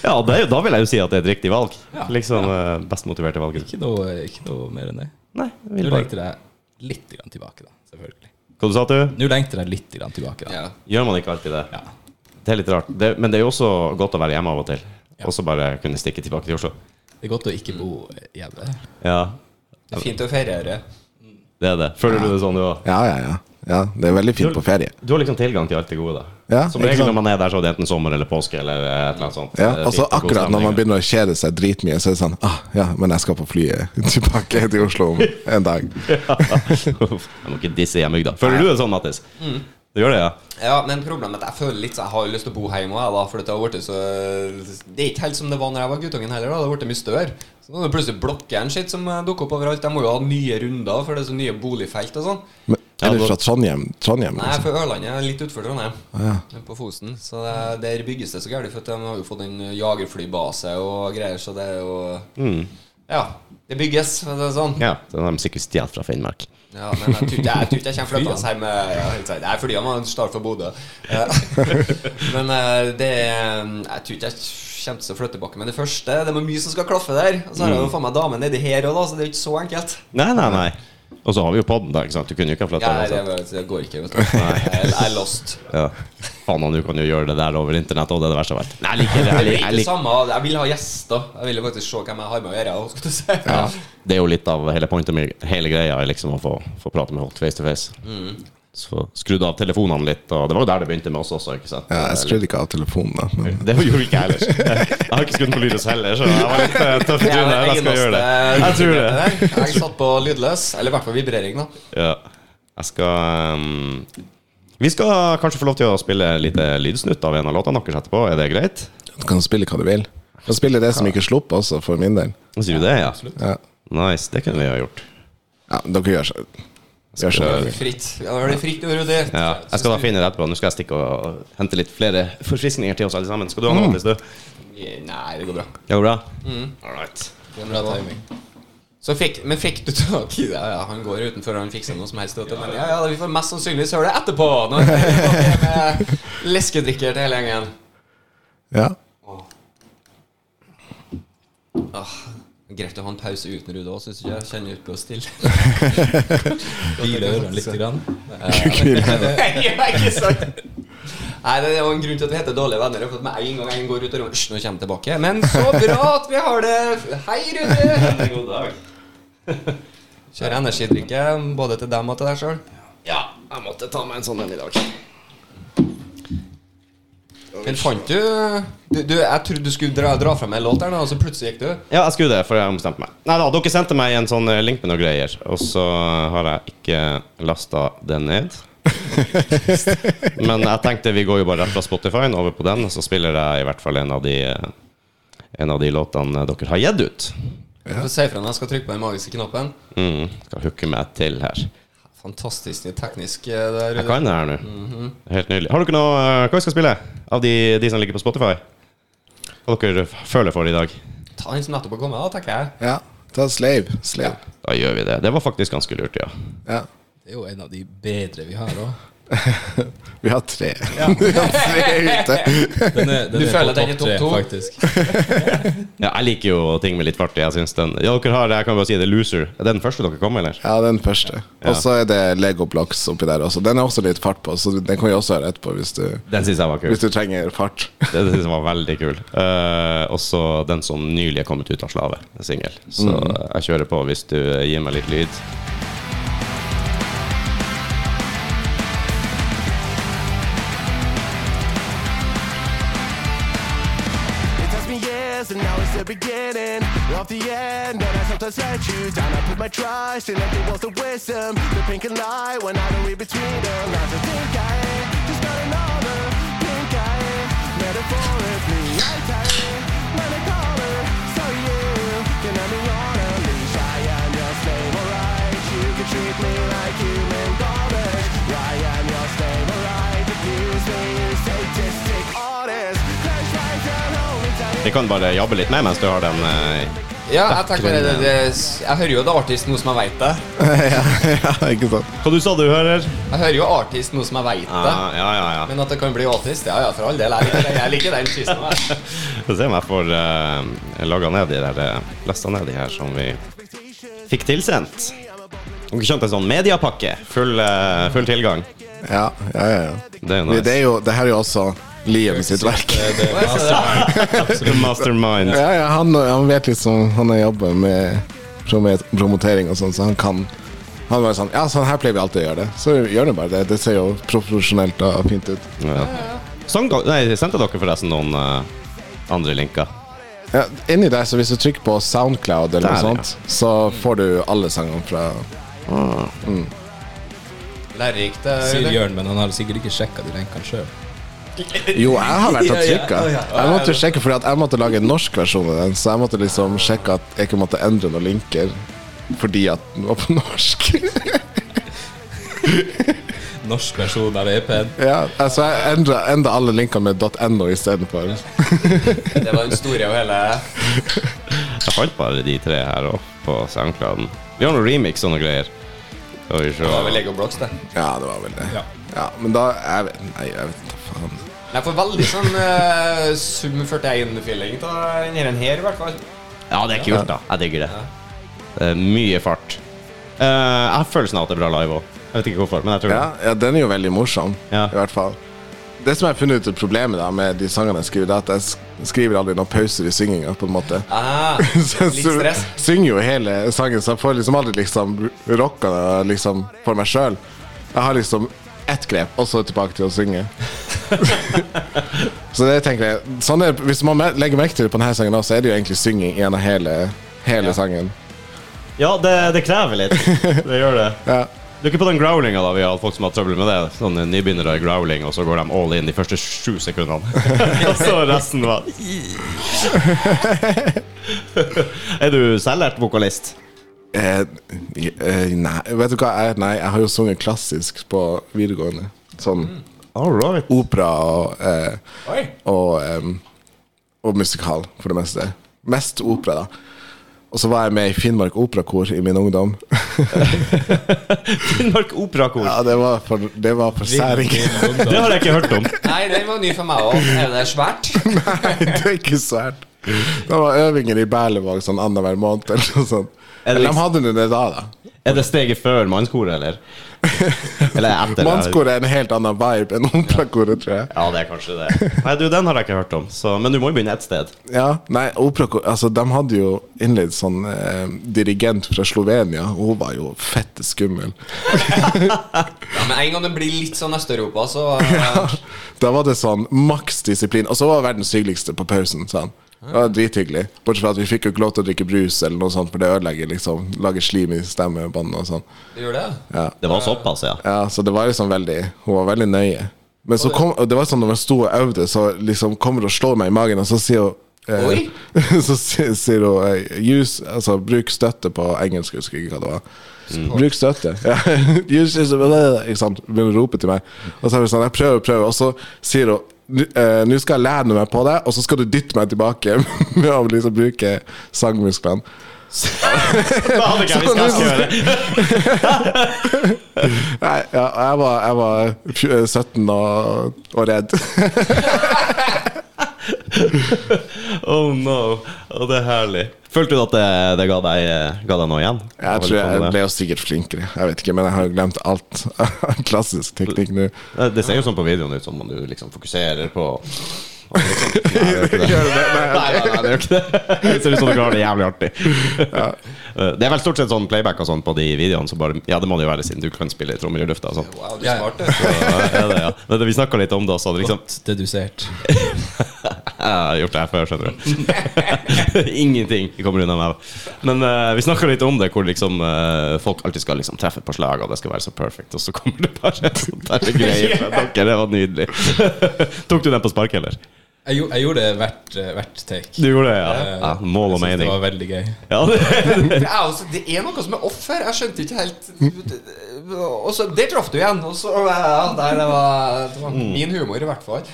Speaker 1: Ja, det, er jo- da vil jeg jo si at det er et riktig valg.
Speaker 4: Ja.
Speaker 1: Liksom eh, best motiverte valget.
Speaker 4: ikke, noe, ikke noe mer enn det.
Speaker 1: Nei, jeg
Speaker 4: Nå
Speaker 1: vil bare.
Speaker 4: lengter jeg litt grann tilbake, da. Selvfølgelig.
Speaker 1: Hva du sa du?
Speaker 4: Nå lengter jeg litt grann tilbake, da.
Speaker 2: Ja.
Speaker 1: Gjør man ikke alltid det?
Speaker 4: Ja.
Speaker 1: Det er litt rart. Det, men det er jo også godt å være hjemme av og til. Og så bare kunne stikke tilbake til Oslo.
Speaker 4: Det er godt å ikke bo hjemme.
Speaker 1: Ja,
Speaker 2: Det er fint å feriere.
Speaker 1: det er det. Føler du det sånn, du òg?
Speaker 3: Ja, ja, ja. ja det er veldig fint på ferie.
Speaker 1: Du har liksom tilgang til alt det gode, da.
Speaker 3: Ja,
Speaker 1: Som
Speaker 3: ikke
Speaker 1: regel
Speaker 3: sant?
Speaker 1: når man er der, så er det enten sommer eller påske eller eh, et eller annet sånt.
Speaker 3: Ja,
Speaker 1: Det er
Speaker 3: og så
Speaker 1: fint og god
Speaker 3: akkurat når man
Speaker 1: stemning.
Speaker 3: begynner å kjede seg dritmye, så er det sånn ah, Ja, men jeg skal på flyet tilbake til Oslo om en dag.
Speaker 1: Uff, Jeg må ikke disse hjembygda. Føler du det sånn, Mattis? Du gjør det, ja?
Speaker 2: Ja, men problemet er at jeg føler litt så jeg har jo lyst til å bo hjemme òg, da. For det har vært så Det er ikke helt som det var når jeg var guttungen heller, da. Det har blitt mye større. Så nå er det plutselig blokkjern sitt som eh, dukker opp overalt. Jeg må jo ha nye runder, for det er så nye boligfelt og sånn.
Speaker 3: Men,
Speaker 1: Ja,
Speaker 3: eller
Speaker 1: da-
Speaker 3: fra Trondheim. Trondheim
Speaker 2: Nei, jeg er
Speaker 3: liksom.
Speaker 2: fra Ørlandet, jeg er litt utenfor Trondheim. På Fosen. Så det, der bygges det så gærent, for at de har jo fått en jagerflybase og greier, så det er jo Ja. Det bygges, for å si det sånn.
Speaker 1: Mm. ja. Den har de sikkert stjålet fra Finnmark.
Speaker 2: Ja, men jeg tror ikke jeg, tror ikke jeg kommer flyttende hjem med ja, helt sant. Nei, fordi han var en start for Bodø. Ja. Men eh, det eh, Jeg tror ikke jeg kommer til å flytte tilbake med det
Speaker 1: Mm.
Speaker 2: første. Det er mye som skal klaffe der. Og så har jeg jo faen meg dame nedi her òg, da, så det er jo ikke så enkelt.
Speaker 1: Nei, nei, nei. Og så har vi jo podden, da. ikke sant? Du kunne jo ikke ha flytta
Speaker 2: Ja, nei, det,
Speaker 1: den. altså.
Speaker 2: var- det går ikke. Vet du. Jeg jeg er lost.
Speaker 1: Ja. Faen, og du kan jo gjøre det der over internett, og det er det verste jeg vet. Nei, jeg liker det. Jeg
Speaker 2: Men
Speaker 1: liker,
Speaker 2: det er
Speaker 1: jeg
Speaker 2: ikke
Speaker 1: liker.
Speaker 2: samme, jeg vil ha gjester. Jeg vil jo faktisk se hvem jeg har med å gjøre. også, Skal du si.
Speaker 1: Det er jo litt av hele pointet med hele greia, er liksom å få, få prate med folk face to face. Så skrudd av telefonene litt, og det var jo der det begynte med oss også, ikke sant?
Speaker 3: Ja, jeg skrudde ikke av telefonen, da. Men
Speaker 1: Det gjorde ikke jeg ellers. Jeg har ikke skrudd på lyset heller, så jeg var litt eh, tøff i
Speaker 2: Jeg er
Speaker 1: trynet.
Speaker 2: den
Speaker 1: Jeg skal gjøre det.
Speaker 2: eneste
Speaker 1: Jeg tror det.
Speaker 2: der. Jeg satt på lydløs, eller i hvert fall vibrering, da.
Speaker 1: Ja. Jeg skal ehm, Vi skal kanskje få lov til å spille et lite lydsnutt av en av låtene deres etterpå. Er det greit?
Speaker 3: du kan spille hva du vil. Du kan spille det som ikke slapp også, for min del.
Speaker 1: Sier du det, ja?
Speaker 3: Ja,
Speaker 1: Nice. Det kunne vi ha gjort.
Speaker 3: ja Dere gjør så Gjør så
Speaker 1: Skal-
Speaker 2: Fritt. Ja, det var det fritt ordet ditt.
Speaker 1: Ja. Jeg skal da finne det etterpå. Nå skal jeg stikke og og hente litt flere forfriskninger til oss alle sammen. Skal du ha noe, Mattis? du?
Speaker 2: Nei, det går bra.
Speaker 1: Det går bra? Mm. All right.
Speaker 2: Det er bra timing. Så fikk, men fikk du tak i det? Ja, han går utenfor han fikser noe som helst. vet du. Men ja, ja, vi får mest sannsynligvis høre det etterpå. Når vi er tilbake med leskedrikker til hele gjengen.
Speaker 3: Ja.
Speaker 2: Åh, greit å ha en pause uten Rude òg, syns du ikke? Jeg Kjenner ut på stille.
Speaker 4: Hvile ørene litt. Grann.
Speaker 1: Eh,
Speaker 2: Nei, ikke sant? Nei, det er jo en grunn til at vi heter Dårlige venner. For at med en gang en går ut av rommet Hysj, nå kommer jeg tilbake. Men så bra at vi har det! Hei, Rune!
Speaker 1: God dag.
Speaker 2: Kjører energidrikke både til dem og til deg sjøl.
Speaker 1: Ja, jeg måtte ta meg en sånn en i dag.
Speaker 2: Men fant du, du, du Jeg trodde du skulle dra, dra fram en låt der nå, og så plutselig gikk du.
Speaker 1: Ja, jeg skulle det, for jeg ombestemte meg. Nei da, dere sendte meg en sånn eh, link med noen greier, og så har jeg ikke lasta den ned. Men jeg tenkte vi går jo bare rett fra Spotify over på den, og så spiller jeg i hvert fall en av de eh, En av de låtene dere har gitt ut.
Speaker 2: Ja. Si fra når jeg skal trykke på den magiske knappen.
Speaker 1: Mm, skal hooke meg til her.
Speaker 2: Fantastisk teknisk. eh, Det er
Speaker 1: Jeg
Speaker 2: Rune.
Speaker 1: kan det her nå. Helt nydelig. Har dere noe eh, Hva vi skal spille av de, de som ligger på Spotify? Hva dere f- føler for i dag?
Speaker 2: Ta den som nettopp har kommet, da, tenker jeg.
Speaker 3: ja. Ta Slave. Slave.
Speaker 1: Da gjør vi det. Det var faktisk ganske lurt, ja.
Speaker 3: Ja.
Speaker 4: Det er jo en av de bedre vi har òg.
Speaker 3: Vi har tre. Vi har tre ute.
Speaker 4: Den er,
Speaker 2: Du
Speaker 4: den er
Speaker 2: føler
Speaker 4: på
Speaker 2: den er
Speaker 4: topp tre,
Speaker 2: topp to?
Speaker 4: faktisk.
Speaker 1: Ja, jeg liker jo ting med litt fart. Jeg synes den ja, dere har, jeg kan bare si det, Loser. Er det den første dere kom med, eller?
Speaker 3: Ja, den første. Og så er det Lego Blocks oppi der også. Den er også litt fart på, så den kan vi også høre etterpå hvis du,
Speaker 1: Den synes jeg var kul.
Speaker 3: hvis du trenger fart.
Speaker 1: Det synes jeg var veldig kul. Eh, også den som nylig er kommet ut av slave, en singel. Så jeg kjører på hvis du gir meg litt lyd.
Speaker 5: It has been years and now it's the beginning of the end. And I sometimes let you down. I put my trust in nothing was the wisdom. The pink and light when I don't read between them. I just think I just got another pink eye. Metaphorically, I tie when I call her. So you can let me on a leash. I am your slave, alright. You can treat me like human garbage. I am your slave, alright. Abuse me, you sadistic artist. Crash right down, only time.
Speaker 1: Vi kan bare jabbe litt med mens du har den. eh,
Speaker 2: Ja, jeg tenker bare det, det, Jeg hører jo The Artist nå som jeg veit det.
Speaker 3: ja, ja, ikke sant?
Speaker 1: Hva du sa du hører?
Speaker 2: Jeg hører jo Artist nå som jeg veit det.
Speaker 1: Ja, ja, ja. ja.
Speaker 2: Men at det kan bli autist, ja ja, for all del. Jeg liker den, jeg liker den kysten der.
Speaker 1: Skal se om jeg får uh, laga ned de der eh, lasta ned de her som vi fikk tilsendt. Dere skjønte en sånn mediepakke? Full, eh, full tilgang.
Speaker 3: Ja, ja, ja. ja.
Speaker 1: Det er jo
Speaker 3: Det
Speaker 1: nice.
Speaker 3: er jo, det her er jo også Liam sitt verk.
Speaker 4: Det, det,
Speaker 2: Hva er det der?
Speaker 1: Mastermind.
Speaker 3: Ja, ja, han, han vet liksom Han har jobba med promo- promotering og sånn, så han kan Han var sånn Ja, sånn her pleier vi alltid å gjøre det. Så gjør det bare det. Det ser jo profesjonelt og fint ut.
Speaker 1: Ja. Sang, nei, sendte dere forresten noen eh, andre linker?
Speaker 3: Ja, inni der, så hvis du trykker på Soundcloud eller
Speaker 1: Der,
Speaker 3: noe
Speaker 1: ja.
Speaker 3: sånt, så får du alle sangene fra
Speaker 2: Lærerikt. eh, det er
Speaker 4: sier
Speaker 2: det.
Speaker 4: Jørn, men han har sikkert ikke sjekka de lenkene sjøl.
Speaker 3: Jo, jeg har vært og trykka.
Speaker 2: Ja, ja, ja, ja.
Speaker 3: Jeg måtte jo sjekke fordi at jeg måtte lage en norsk versjon av den, så jeg måtte liksom sjekke at jeg ikke måtte endre noen linker fordi at den var på norsk.
Speaker 4: Norsk versjon av E EP-en.
Speaker 3: ja, altså jeg endra enda alle linkene med .no istedenfor.
Speaker 2: Det var den store og hele
Speaker 1: Jeg fant bare de tre her òg, på SoundClouden. Vi har noen remix og noen greier. Skal vi se.
Speaker 2: Det var vel Lego Blocks, det.
Speaker 3: Ja, det var vel det.
Speaker 4: Ja.
Speaker 3: Ja, men da jeg vet, Nei, jeg vet da faen.
Speaker 2: Jeg får veldig sånn eh, Sum 41-feeling av denne her, i hvert fall.
Speaker 1: Ja, det er kult, da. Jeg digger det. Det er mye fart. Eh, jeg har følelsen av at det er bra live òg. Jeg vet ikke hvorfor, men jeg tror
Speaker 3: Ja, ja, den er jo veldig morsom,
Speaker 1: Ja.
Speaker 3: i hvert fall. Det som jeg har funnet ut er problemet da med de sangene jeg skriver, det er at jeg sk- skriver aldri noen pauser i synginga, på en måte.
Speaker 2: Ah,
Speaker 3: Så jeg
Speaker 2: litt
Speaker 3: sy-
Speaker 2: stress.
Speaker 3: synger jo hele sangen, så jeg får liksom aldri liksom rocka det liksom for meg sjøl. Jeg har liksom ett grep, og så tilbake til å synge. så det tenker jeg sånn er, Hvis man mer- legger merke til det på denne sangen, også, så er det jo egentlig synging gjennom hele, hele sangen.
Speaker 1: det. Ja, det, det krever litt. Det gjør det.
Speaker 3: Ja.
Speaker 1: Du er ikke på den growlinga, da. Vi har hatt folk som har hatt trøbbel med det. Sånne nybegynnere i growling, og så går de all in de første sju sekundene. og så resten var Er du selvlært vokalist?
Speaker 3: Eh, eh, nei, vet du hva? Jeg, nei, jeg har jo sunget klassisk på videregående. Sånn
Speaker 1: All right.
Speaker 3: opera og, eh,
Speaker 2: Oi.
Speaker 3: og, em, og musikal, for det meste. Mest opera, da. Og så var jeg med i Finnmark Operakor i min ungdom.
Speaker 1: Finnmark Operakor.
Speaker 3: Ja, Det var for, det var for særing.
Speaker 1: Det har jeg ikke hørt om.
Speaker 2: Nei, den var ny for meg òg. Er det svært?
Speaker 3: Nei, det er ikke svært. Det var øvinger i Berlevåg sånn annenhver måned eller noe sånt.
Speaker 1: Er det
Speaker 3: Eller
Speaker 1: liksom-
Speaker 3: de hadde nå det da, da.
Speaker 1: Er det steget før mannskoret, eller? Eller etter?
Speaker 3: Mannskoret er en helt annen vibe enn operakoret, tror jeg.
Speaker 1: Ja, det er kanskje det. Nei, du, den har jeg ikke hørt om. Så, men du må jo begynne et sted.
Speaker 3: Ja, nei, operakor Altså, de hadde jo innleid sånn eh, dirigent fra Slovenia, og hun var jo fette skummel.
Speaker 2: Ja, men en gang det blir litt sånn Øst-Europa, så eh,
Speaker 3: Da var det sånn maks disiplin. Og så var hun verdens hyggeligste på pausen, sa han. Det var drithyggelig. Bortsett fra at vi fikk jo ikke lov til å drikke brus eller noe sånt, for det ødelegger liksom Lager slim i stemmebåndet og sånn.
Speaker 2: det gjør det.
Speaker 1: Det var såpass, ja.
Speaker 3: Ja, så det var liksom veldig Hun var veldig nøye. Men så kom og Det var sånn når jeg sto og øvde, så liksom kommer hun og slår meg i magen, og så sier hun eh,
Speaker 2: Oi.
Speaker 3: Så sier, sier hun eh, use, altså, Bruk støtte på engelsk, jeg husker ikke hva det var. Bruk støtte. Ja. Use, is- ikke sant? Begynner å rope til meg. Og så er det sånn, jeg prøver og prøver, og så sier hun «Nå- eh, Nå skal jeg lene meg på deg, og så skal du dytte meg tilbake med å liksom bruke sangmusklene.
Speaker 1: Da hadde ikke jeg visst hva jeg skulle gjøre.
Speaker 3: Nei, ja, jeg var, jeg var fj- eh, 17 og, og redd.
Speaker 1: Oh no. Og det er herlig. Følte du at det, det ga, deg, eh, ga deg noe igjen?
Speaker 3: Jeg tror jeg ble jo sikkert flinkere, jeg vet ikke, men jeg har jo glemt alt av klassisk teknikk nå.
Speaker 1: Det- Det ser jo sånn på videoen ut som om du liksom fokuserer på og liksom, Nei, det gjør ikke det. Nei, nei, nei, det gjør ikke det. Det ser ut som dere har det jævlig artig. Det er vel stort sett sånn playback og sånn på de videoene. Så bare, ja, det må det jo være siden du kan spille trommer i lufta. og sånn.
Speaker 2: Wow, du
Speaker 4: Ja,
Speaker 2: er
Speaker 4: ja.
Speaker 2: smart. du.
Speaker 1: Ja, er det, ja. Men vi snakka litt om det også. at Liksom,
Speaker 4: Godt dedusert.
Speaker 1: jeg har gjort det her før, skjønner du. Ingenting kommer unna meg. Men eh, vi snakka litt om det, hvor liksom, eh, folk alltid skal liksom, treffe på slag, og det skal være så perfect, og så kommer det bare sånn der greie fra dere. Det var nydelig. Tok du den på sparket, eller?
Speaker 4: Jeg, gjo- jeg gjorde det hvert, eh, hvert take.
Speaker 1: Du gjorde det, ja.
Speaker 4: Eh,
Speaker 1: ja mål og
Speaker 4: jeg synes
Speaker 1: mening.
Speaker 4: Det var veldig gøy.
Speaker 1: Ja, det,
Speaker 2: Det er, også, det er noe som er off her. Jeg skjønte ikke helt Og så, Der traff du igjen. Og så, eh, ja, der, det, var, det var min humor, i hvert fall.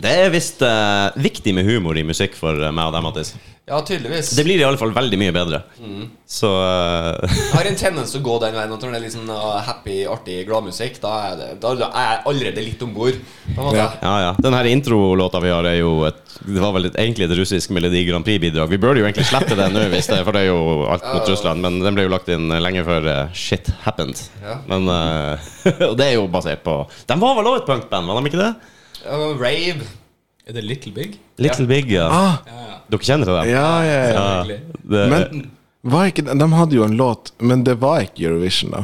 Speaker 1: det er visst eh, viktig med humor i musikk for eh, meg og deg, Mattis.
Speaker 2: Ja, tydeligvis.
Speaker 1: Det blir i alle fall veldig mye bedre.
Speaker 4: Mm.
Speaker 1: Så eh,
Speaker 2: Jeg har en tendens til å gå den veien. At når det er litt sånn uh, happy, artig gladmusikk, da, er det- da, da er jeg allerede litt om bord.
Speaker 3: Ja.
Speaker 1: Ja, ja. Den her introlåta vi har, er jo et Det var vel et, egentlig et russisk Melodi Grand Prix-bidrag. Vi burde jo egentlig slette den nå, hvis det, for det er jo alt mot Russland. Men den ble jo lagt inn lenge før eh, shit happened.
Speaker 2: Ja.
Speaker 1: Men eh, Og det er jo basert på De var vel også et punkband, var de ikke det?
Speaker 2: Rave.
Speaker 4: Er det Little Big?
Speaker 1: Little Big, ja.
Speaker 3: Ah,
Speaker 1: Dere kjenner til dem?
Speaker 3: ja, ja, ja.
Speaker 1: Det,
Speaker 3: Men var ikke, de hadde jo en låt, men det var ikke Eurovision, da?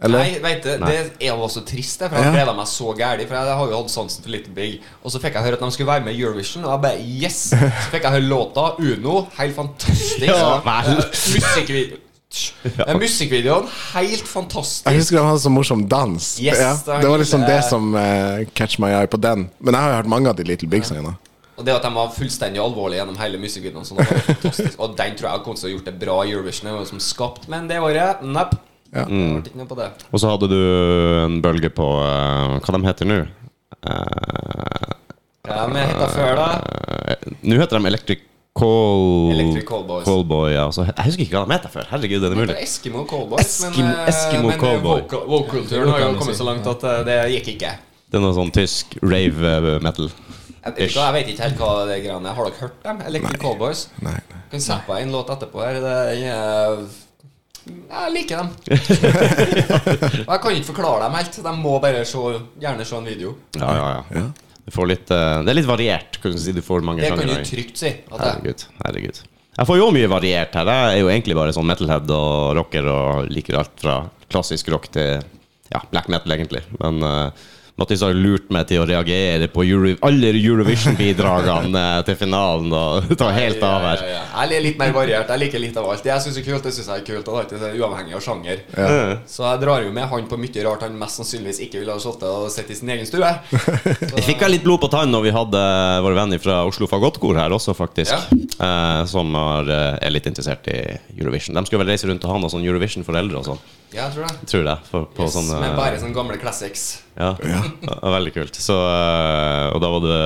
Speaker 3: Eller?
Speaker 2: Nei, vet du, Det er jo også trist, det, for jeg
Speaker 3: Ja.
Speaker 2: gleda meg så gæli. For jeg har jo hatt sansen for Little Big. Og så fikk jeg høre at de skulle være med i Eurovision, og jeg bare yes! Så fikk jeg høre låta Uno. Helt fantastisk.
Speaker 1: Ja, vel.
Speaker 2: Eh, musikkvideo- Tsk. Eh, Musikkvideoen, helt fantastisk.
Speaker 3: Jeg husker de hadde så morsom dans.
Speaker 2: Yes,
Speaker 3: ja,
Speaker 2: det var
Speaker 3: det var liksom
Speaker 2: lille-
Speaker 3: det som eh, catch my eye på den. Men jeg har jo hørt mange av de Little Big-sangene.
Speaker 2: Og det at de var fullstendig alvorlige gjennom hele musikkvideoen, sånn, det var fantastisk. Og den tror jeg kom til å ha gjort det bra i Eurovision. Det var jo som skapt, men det året, nepp.
Speaker 3: Ja.
Speaker 1: Mm.
Speaker 2: Det ble ikke noe på det.
Speaker 1: og så hadde du en bølge på eh, Hva de heter nå? Eh,
Speaker 2: Ja, men jeg heter før, da.
Speaker 1: Eh, Nå heter de Electric Call
Speaker 2: Electric Callboys.
Speaker 1: Callboy, ja. Så, he- jeg husker ikke hva de heter før. Herregud, er det
Speaker 2: Det
Speaker 1: mulig?
Speaker 2: er Eskimo Cowboys, men,
Speaker 1: Eskimo-
Speaker 2: eh,
Speaker 1: Eskimo
Speaker 2: men
Speaker 1: Cowboy.
Speaker 2: vocal- vocalturen har jo kommet så langt at eh, det gikk ikke.
Speaker 1: Det er noe sånn tysk rave eh, metal.
Speaker 2: Jeg vet,
Speaker 1: Ish.
Speaker 2: ikke, jeg vet ikke helt hva det greiene er. Har dere hørt dem? Electric Cowboys?
Speaker 3: Nei, nei.
Speaker 2: Kan sette på en låt etterpå her. Det er, eh, Jeg liker dem. Og jeg kan ikke forklare dem helt. De må bare se, gjerne se en video.
Speaker 1: Ja, ja, ja. Du får litt, eh, det er litt variert. Kan du si du får mange
Speaker 2: Det kan du
Speaker 1: sjangere.
Speaker 2: trygt si. At jeg,
Speaker 1: Herregud. herregud Jeg får jo mye variert her. Jeg er jo egentlig bare sånn metalhead og rocker og liker alt fra klassisk rock til ja, black metal, egentlig. Men eh, Mattis har lurt meg til å reagere på Euro alle Eurovision-bidragene eh, til finalen og ta helt av her.
Speaker 2: Ja, ja, ja. Jeg er litt mer variert. Jeg liker litt av alt. Det jeg syns er kult, det syns jeg er kult. Og det er alltid så uavhengig av sjanger. Så jeg drar jo med han på mye rart han mest sannsynligvis ikke ville ha sittet og sett i sin egen stue.
Speaker 1: Vi fikk vel litt blod på tann når vi hadde eh, vår venn fra Oslo Fagottkor her også, faktisk. eh, som er, eh, er litt interessert i Eurovision. De skulle vel reise rundt og ha noe sånn Eurovision-foreldre og sånn,
Speaker 2: Ja, jeg tror det.
Speaker 1: tror jeg. For, på
Speaker 2: Yes,
Speaker 1: sånne-
Speaker 2: Men bare sånne gamle classics.
Speaker 1: Ja, det var veldig kult. Så, eh, og da var det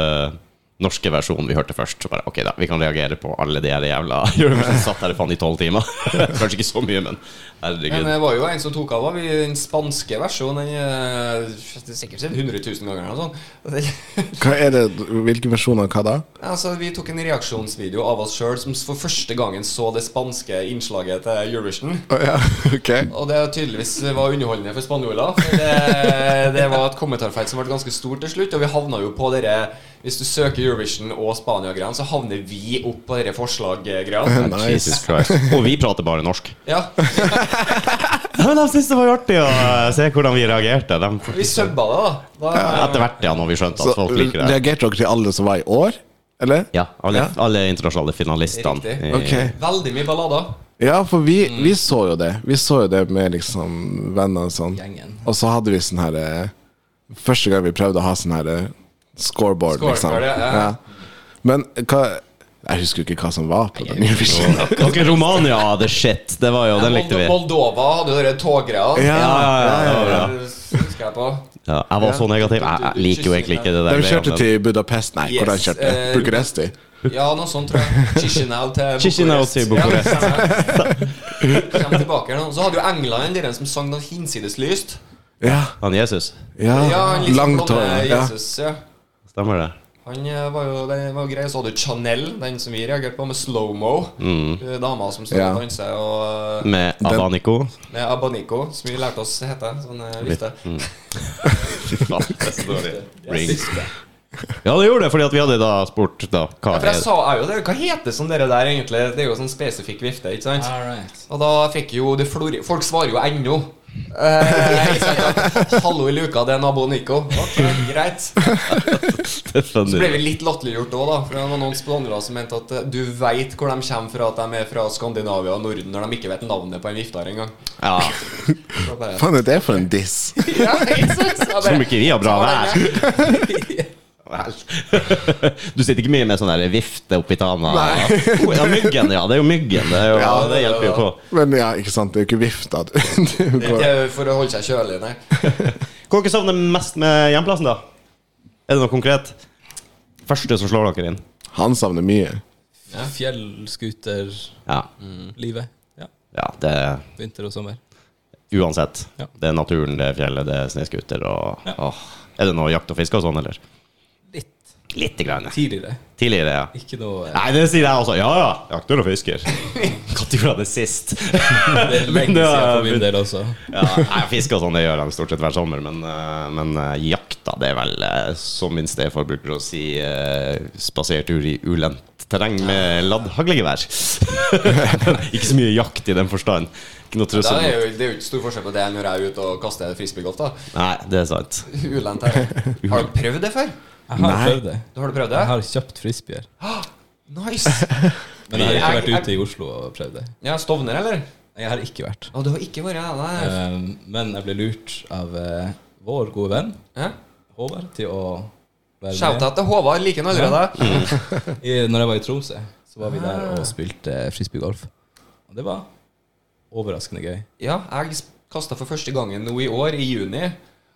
Speaker 1: norske versjonen vi hørte først. Så bare, ok da, Vi kan reagere på alle de her jævla Eurovision satt der faen i tolv timer. Kanskje ikke så mye, men
Speaker 2: Men
Speaker 1: herregud.
Speaker 2: det var jo en som tok av av i den spanske versjonen. Den, eh, det er sikkert sett 100 000 ganger eller noe sånt.
Speaker 3: Hva er det, hvilken versjon av hva da?
Speaker 2: Altså, vi tok en reaksjonsvideo av oss sjøl som for første gangen så det spanske innslaget til Eurovision.
Speaker 3: Å ja, ok.
Speaker 2: Og det tydeligvis var underholdende for spanjoler. For det, det var et kommentarfelt som ble ganske stort til slutt. Og vi havna jo på dere Hvis du søker Eurovision og Spania-greiene, så havner vi opp på dere forslag-greiene.
Speaker 3: Nice.
Speaker 1: Jesus Christ. Og vi prater bare norsk.
Speaker 2: Ja,
Speaker 1: Men de syntes det var artig å eh, se hvordan vi reagerte. De,
Speaker 2: vi subba det, da. da
Speaker 1: etter hvert, ja, når vi skjønte
Speaker 3: Så
Speaker 1: at folk liker det.
Speaker 3: reagerte dere til alle som var i år, eller?
Speaker 1: Ja, alle,
Speaker 3: Ja.
Speaker 1: alle internasjonale finalistene.
Speaker 2: Riktig.
Speaker 1: i-
Speaker 3: Ok.
Speaker 2: Veldig mye ballader.
Speaker 3: Ja, for vi,
Speaker 2: Mm.
Speaker 3: vi så jo det. Vi så jo det med liksom venner og sånn.
Speaker 4: Gjengen.
Speaker 3: Og så hadde vi sånn her eh, Første gang vi prøvde å ha sånn her eh, scoreboard, liksom.
Speaker 2: Scoreboard, ja, ja.
Speaker 3: Men hva Jeg husker jo ikke hva som var på den Eurovision.
Speaker 1: Ok, Romania, the shit. Det var jo, den likte vi.
Speaker 2: Moldova hadde jo de toggreia.
Speaker 3: Ja,
Speaker 1: ja, ja, ja, ja.
Speaker 2: Husker jeg på.
Speaker 1: Ja, jeg var så negativ. Jeg, jeg liker jo egentlig ikke det der.
Speaker 3: Da vi
Speaker 1: greiene,
Speaker 3: kjørte
Speaker 1: men-
Speaker 3: til Budapest Nei,
Speaker 2: Yes,
Speaker 3: hvordan kjørte vi?
Speaker 2: eh,
Speaker 3: Bucuresti?
Speaker 2: Ja, noe sånt, tror jeg. Chisinau til
Speaker 1: Chisinau til Bucuresti.
Speaker 2: Ja, stemmer. Kommer tilbake her nå. Så hadde jo England dere som sang noe hinsides lyst.
Speaker 3: Ja.
Speaker 1: Han Jesus.
Speaker 3: ja.
Speaker 2: han liksom
Speaker 3: Langt
Speaker 2: blonde
Speaker 3: hår. Ja.
Speaker 2: Jesus, ja.
Speaker 1: Stemmer det?
Speaker 2: Han eh, var jo, den var jo grei. Så hadde du Chanel, den som vi reagerte på, med slow-mo. Eh, Dama som står
Speaker 3: Ja.
Speaker 2: og danser, og eh,
Speaker 1: Med Adanico.
Speaker 2: med Abanico, som vi lærte oss hete. Sånn eh, vifte.
Speaker 1: Rings. Ja, det gjorde det, fordi at vi hadde da spurt da, hva
Speaker 2: For jeg
Speaker 1: er
Speaker 2: sa jo det. Hva heter sånn dere der, egentlig? Det er jo sånn spesifikk vifte, ikke sant?
Speaker 4: All right.
Speaker 2: Og da fikk jo det flori... Folk svarer jo ennå. Eh, ikke sant? Hallo i luka, det er nabo Nico. Ok, greit.
Speaker 1: det
Speaker 2: Så ble vi
Speaker 1: funny?
Speaker 2: litt latterliggjort òg, da. For det var noen spandere som mente at eh, du veit hvor de kommer fra, at de er fra Skandinavia og Norden, når de ikke vet navnet på en viftar engang.
Speaker 1: Ja,
Speaker 2: Så bare-
Speaker 3: Faen, det er for en diss.
Speaker 2: Ja, ikke sant? Så jeg bare-
Speaker 1: Som ikke vi har bra
Speaker 2: Så var det-
Speaker 1: vel. Du sitter ikke mye med sånn der vifte oppi tana? Nei. Oh, Ja, myggen, ja. Det er jo myggen. Det, er jo,
Speaker 2: Ja,
Speaker 1: det hjelper jo på.
Speaker 3: Men ja, ikke sant, det er jo ikke vifta du, du
Speaker 2: Det
Speaker 3: går
Speaker 2: er ikke For å holde seg kjølig, nei.
Speaker 1: Hva dere savner mest med hjemplassen, da? Er det noe konkret? Første som slår dere inn?
Speaker 3: Han savner mye.
Speaker 4: Ja. Fjellskuterlivet.
Speaker 1: Ja.
Speaker 4: Ja.
Speaker 1: ja det
Speaker 4: Vinter og sommer.
Speaker 1: Uansett.
Speaker 4: Ja.
Speaker 1: Det er naturen, det er fjellet, det er snøscooter og
Speaker 4: Ja.
Speaker 1: åh. Er det noe jakt og fiske og sånn, eller?
Speaker 4: Litt
Speaker 1: Lite grann.
Speaker 4: tidligere.
Speaker 1: Tidligere, ja.
Speaker 4: Ikke noe eh,
Speaker 1: Nei, det sier jeg også. Ja ja, jakter og fisker. Når gjorde jeg det sist?
Speaker 4: Det er
Speaker 1: Men
Speaker 4: lenge
Speaker 1: det
Speaker 4: siden
Speaker 1: var-
Speaker 4: for min del også.
Speaker 1: Ja, nei, fiske og sånn, det gjør de stort sett hver sommer, men, eh, men eh, jakta, det er vel, eh, som min stefar bruker å si, eh, spasertur i ulendt terreng med ladd haglegevær. Ikke så mye jakt i den forstand. Ikke noe
Speaker 2: Da er
Speaker 1: trussel.
Speaker 2: jo, det er jo ikke stor forskjell på det når jeg er ute og kaster frisbeegolf, da.
Speaker 1: Nei, det er sant.
Speaker 2: Ulendt her. Har du prøvd det før?
Speaker 4: Jeg har prøvd det.
Speaker 2: Har du prøvd
Speaker 4: Jeg
Speaker 2: det? Ah,
Speaker 4: har kjøpt frisbeer.
Speaker 2: Nice!
Speaker 4: Men jeg har ikke
Speaker 2: Jeg-
Speaker 4: vært ute i Oslo og prøvd det.
Speaker 2: Ja, Stovner, eller?
Speaker 4: Jeg har ikke vært.
Speaker 2: Å, du har ikke vært der? Nei.
Speaker 4: Um, men jeg ble lurt av eh, vår gode venn
Speaker 2: Ja.
Speaker 4: Håvard til å være med.
Speaker 2: Shout-out til Håvard. Liker han allerede.
Speaker 4: I, når jeg var i Tromsø, så var vi
Speaker 2: Ah.
Speaker 4: der og spilte frisbeegolf. Og det var overraskende gøy.
Speaker 2: Ja, jeg kasta for første gangen nå i år, i juni.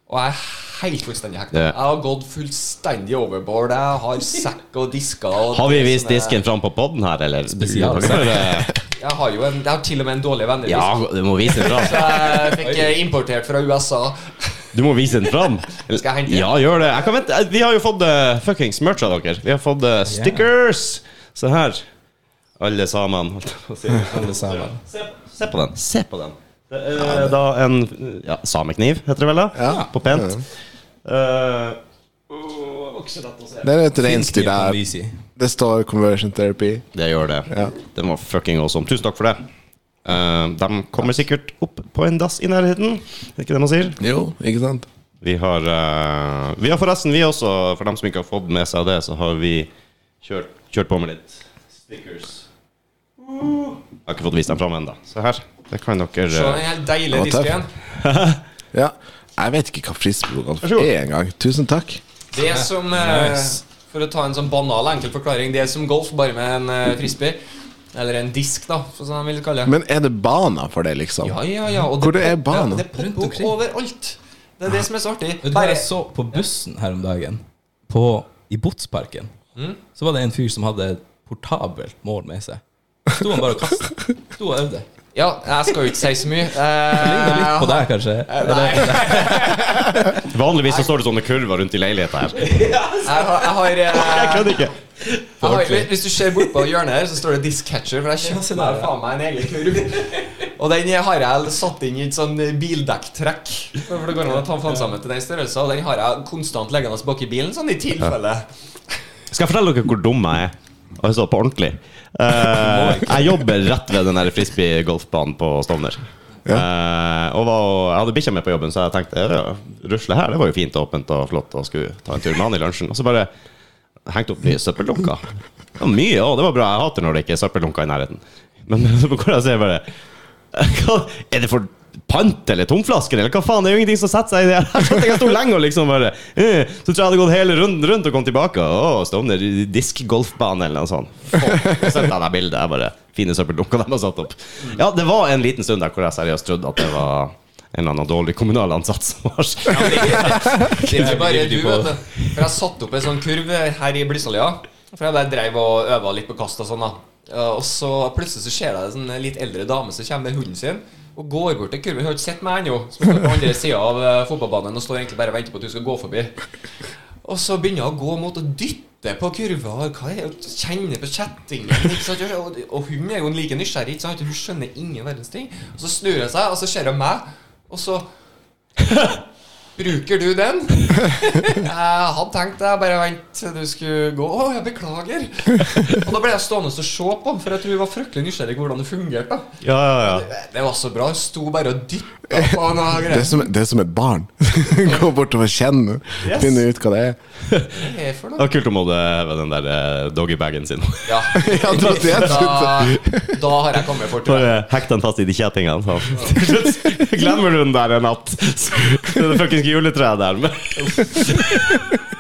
Speaker 2: Og jeg er helt fullstendig hekta.
Speaker 1: Ja.
Speaker 2: Jeg har gått fullstendig overboard. Jeg har sekk og disker. Og
Speaker 1: Har vi
Speaker 2: det
Speaker 1: vist
Speaker 2: som er-
Speaker 1: disken fram på poden her, eller?
Speaker 4: Spesial.
Speaker 2: Jeg har jo en, jeg har til og med en dårlig vennedisk.
Speaker 1: Ja, du må vise den fram.
Speaker 2: Jeg fikk eh, importert fra USA.
Speaker 1: Du må vise den fram.
Speaker 2: Skal jeg hente den?
Speaker 1: Ja, gjør det. Jeg kan vente. Vi har jo fått eh, fuckings merch av dere. Vi har fått eh, stickers. Se her. Alle samene, holdt jeg på å si.
Speaker 4: Alle sammen.
Speaker 1: Se, se på den. Se på den. Det er da en ja, samekniv, heter det vel? da
Speaker 3: Ja.
Speaker 1: På pent.
Speaker 3: Ja.
Speaker 1: Eh, åh, det var ikke så lett å se.
Speaker 3: Det er et
Speaker 4: Finsk
Speaker 3: reinsdyr
Speaker 4: kan
Speaker 3: der.
Speaker 4: vi si.
Speaker 3: Det står conversion therapy.
Speaker 1: Det gjør det.
Speaker 3: Ja.
Speaker 1: Den var fucking awesome. Tusen takk for det. Eh, de kommer sikkert opp på en dass i nærheten. Er det ikke det man sier?
Speaker 3: Jo, ikke sant?
Speaker 1: Vi har, eh, vi har forresten, vi også, for dem som ikke har fått med seg det, så har vi kjørt, kjørt på med litt stickers. Jeg har ikke fått vist dem fram ennå. Se her. Det kan dere
Speaker 2: Se den
Speaker 1: eh,
Speaker 2: helt
Speaker 3: Det
Speaker 2: deilige
Speaker 3: var
Speaker 2: disken.
Speaker 3: Ja. Jeg vet ikke hva frisbeegolf
Speaker 1: så god.
Speaker 3: er engang. Tusen takk.
Speaker 2: Det som eh,
Speaker 4: Nice.
Speaker 2: For å ta en sånn banal enkel forklaring, det er som golf, bare med en eh, frisbee. Eller en disk, da, for sånn de vil kalle det.
Speaker 3: Men er det baner for det, liksom?
Speaker 2: Ja, ja, ja. Og
Speaker 3: Hvor det er
Speaker 2: popper-
Speaker 3: banen?
Speaker 2: Det
Speaker 4: Rundt
Speaker 2: popper opp
Speaker 4: omkring.
Speaker 2: overalt. Det er det som er så artig.
Speaker 4: Vet du hva
Speaker 2: Bare
Speaker 4: jeg så på bussen her om dagen? På, I Botsparken. Så var det en fyr som hadde et portabelt mål med seg. Sto han bare og kastet. Sto og øvde.
Speaker 2: Ja, jeg skal jo ikke si så mye.
Speaker 4: Ligna
Speaker 2: Eh,
Speaker 4: litt på deg, kanskje. Eller,
Speaker 1: Vanligvis så står det sånne kurver rundt i leiligheta her.
Speaker 2: jeg har, jeg har, eh,
Speaker 1: Jeg kødder ikke.
Speaker 2: jeg har
Speaker 4: ordentlig.
Speaker 2: Hvis du ser bort på hjørnet her, så står det 'Disc Catcher'. For jeg
Speaker 4: se
Speaker 2: kjøpte
Speaker 4: der,
Speaker 2: meg
Speaker 4: ja.
Speaker 2: faen meg en egen kurv. Og den har jeg satt inn i et sånn bildekktrekk. For det går an å ta faen sammen til den størrelsen. Og den har jeg konstant liggende bak i bilen, sånn i tilfelle.
Speaker 1: Skal jeg fortelle dere hvor dum jeg er? Altså på ordentlig. Eh, jeg jobber rett ved den der frisbee-golfbanen på Stovner. Eh, og var, og- jeg hadde bikkja med på jobben, så jeg tenkte ja, rusle her, det var jo fint og åpent og flott. Og skulle ta en tur med han i lunsjen. Og så bare hengte opp nye søppeldunker. Det var mye òg, det var bra. Jeg hater når det ikke er søppeldunker i nærheten. Men så går jeg og ser bare hva, Er det for pant eller tomflasker, eller hva faen? Det er jo ingenting som setter seg i det her. Så jeg sto lenge og liksom bare eh, Så tror jeg jeg hadde gått hele runden rundt og kom tilbake. Å, Stovner diskgolfbane eller noe sånt. Fuck, Så sendte jeg det bildet. Jeg bare Fine søppeldunker de har satt opp. Ja, det var en liten stund der hvor jeg seriøst trodde at det var en eller annen dårlig kommunal ansatt som var
Speaker 2: Det er ikke bare
Speaker 4: driver
Speaker 2: du,
Speaker 4: de på.
Speaker 2: vet du. For jeg satte opp en sånn kurv her i Blyssalia. For jeg bare dreiv og øva litt på kast og sånn, da. Eh, Og så plutselig så ser jeg en sånn litt eldre dame som kommer med hunden sin. Og går bort til kurven. Hun har ikke sett meg ennå. Som står på andre sida av eh, fotballbanen og står egentlig bare og venter på at hun skal gå forbi. Og så begynner hun å gå mot og dytte på kurva. og Hva er det? Kjenner på kjettingen. Ikke sant? Og, og hun er jo like nysgjerrig. Ikke sant? Hun skjønner ingen verdens ting. Og så snur hun seg, og så ser hun meg, og så Bruker du den? Jeg hadde tenkt det, bare vent til du skulle gå. Å, jeg beklager. Og da ble jeg stående og se på, for jeg tror hun var fryktelig nysgjerrig på hvordan det fungerte. da.
Speaker 1: Ja, ja, ja.
Speaker 2: Det var så bra. Hun sto bare og dytta på noe
Speaker 3: Det er
Speaker 2: greier.
Speaker 3: som, det er som et barn. Gå bortover, kjenne, finne ut hva det er.
Speaker 2: Hva er det for
Speaker 1: Det
Speaker 2: noe?
Speaker 1: var kult om hun hadde hevet den der eh, doggybagen sin.
Speaker 2: Ja.
Speaker 3: Ja, det var det jeg
Speaker 2: Da, da har jeg kommet for tur.
Speaker 1: Bare hekte den fast i de kjettingene. Så. Til slutt glemmer du den der en natt. Så Det er det fuckings juletreet der. Men.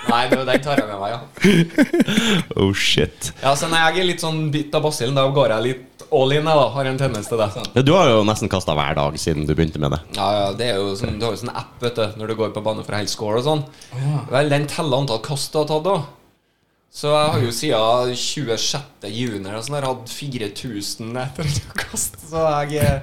Speaker 2: Nei, det- den tar jeg med meg, ja.
Speaker 1: Oh shit.
Speaker 2: ja så når jeg er litt sånn bitt av basillen, da går jeg litt all in, jeg, da. Har en tendens til det.
Speaker 1: Ja, Du har jo nesten kasta hver dag siden du begynte med det.
Speaker 2: Ja, ja, det er jo sånn, Du har jo sånn app vet du når du går på bane for å holde score og sånn. Vel, Den teller antall kast du har tatt, da. Så jeg har jo siden 26. juni og sånn der hatt 4000 etter kast. Så jeg eh,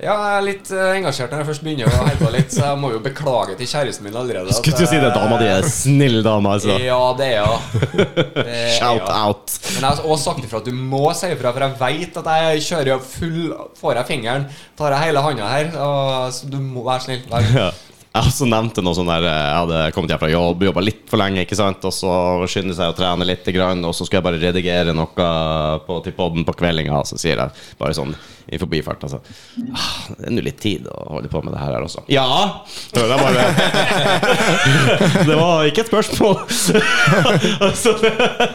Speaker 2: ja, jeg er litt eh, engasjert når jeg først begynner å holde på litt, så jeg må jo beklage til kjæresten min allerede. at
Speaker 1: Skulle til å si det,
Speaker 2: jeg-
Speaker 1: dama di er snill dame, altså.
Speaker 2: Ja, det er hun. Det er
Speaker 1: Shout
Speaker 2: hun.
Speaker 1: out.
Speaker 2: Men jeg har også sagt ifra at du må si ifra, for jeg veit at jeg kjører jo full Får jeg fingeren, tar jeg hele handa her, og, så du må være snill. Vær
Speaker 1: Ja. Jeg også nevnte noe sånn der eh, Jeg hadde kommet hjem fra jobb, jobba litt for lenge, ikke sant, og så skynder jeg seg å trene litt, grann, og så skal jeg bare redigere noe på, til podden på kveldinga, og så sier jeg bare sånn i forbifarten altså, «Ah, Det er nå litt tid å holde på med det her her også. Ja! Hører jeg bare. Det var ikke et spørsmål. Altså, det-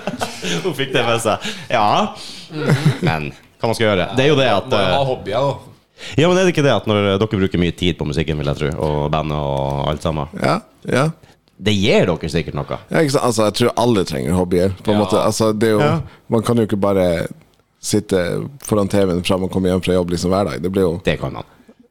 Speaker 1: Hun fikk det med seg. Ja. Mm. Men hva man skal gjøre. Det er jo det at
Speaker 2: Må jo ha
Speaker 1: eh,
Speaker 2: hobbyer også.
Speaker 1: ja, men er det ikke det at når dere bruker mye tid på musikken, vil jeg tro, og bandet og alt sammen,
Speaker 3: Ja, ja.
Speaker 1: det gir dere sikkert noe?
Speaker 3: ja ikke sant? Altså, jeg tror alle trenger hobbyer. På en
Speaker 2: Ja.
Speaker 3: måte. Altså, det er jo,
Speaker 1: Ja.
Speaker 3: Man kan jo ikke bare sitte foran TV-en fra man kommer hjem fra jobb liksom hver dag. Det blir jo
Speaker 1: Det kan man.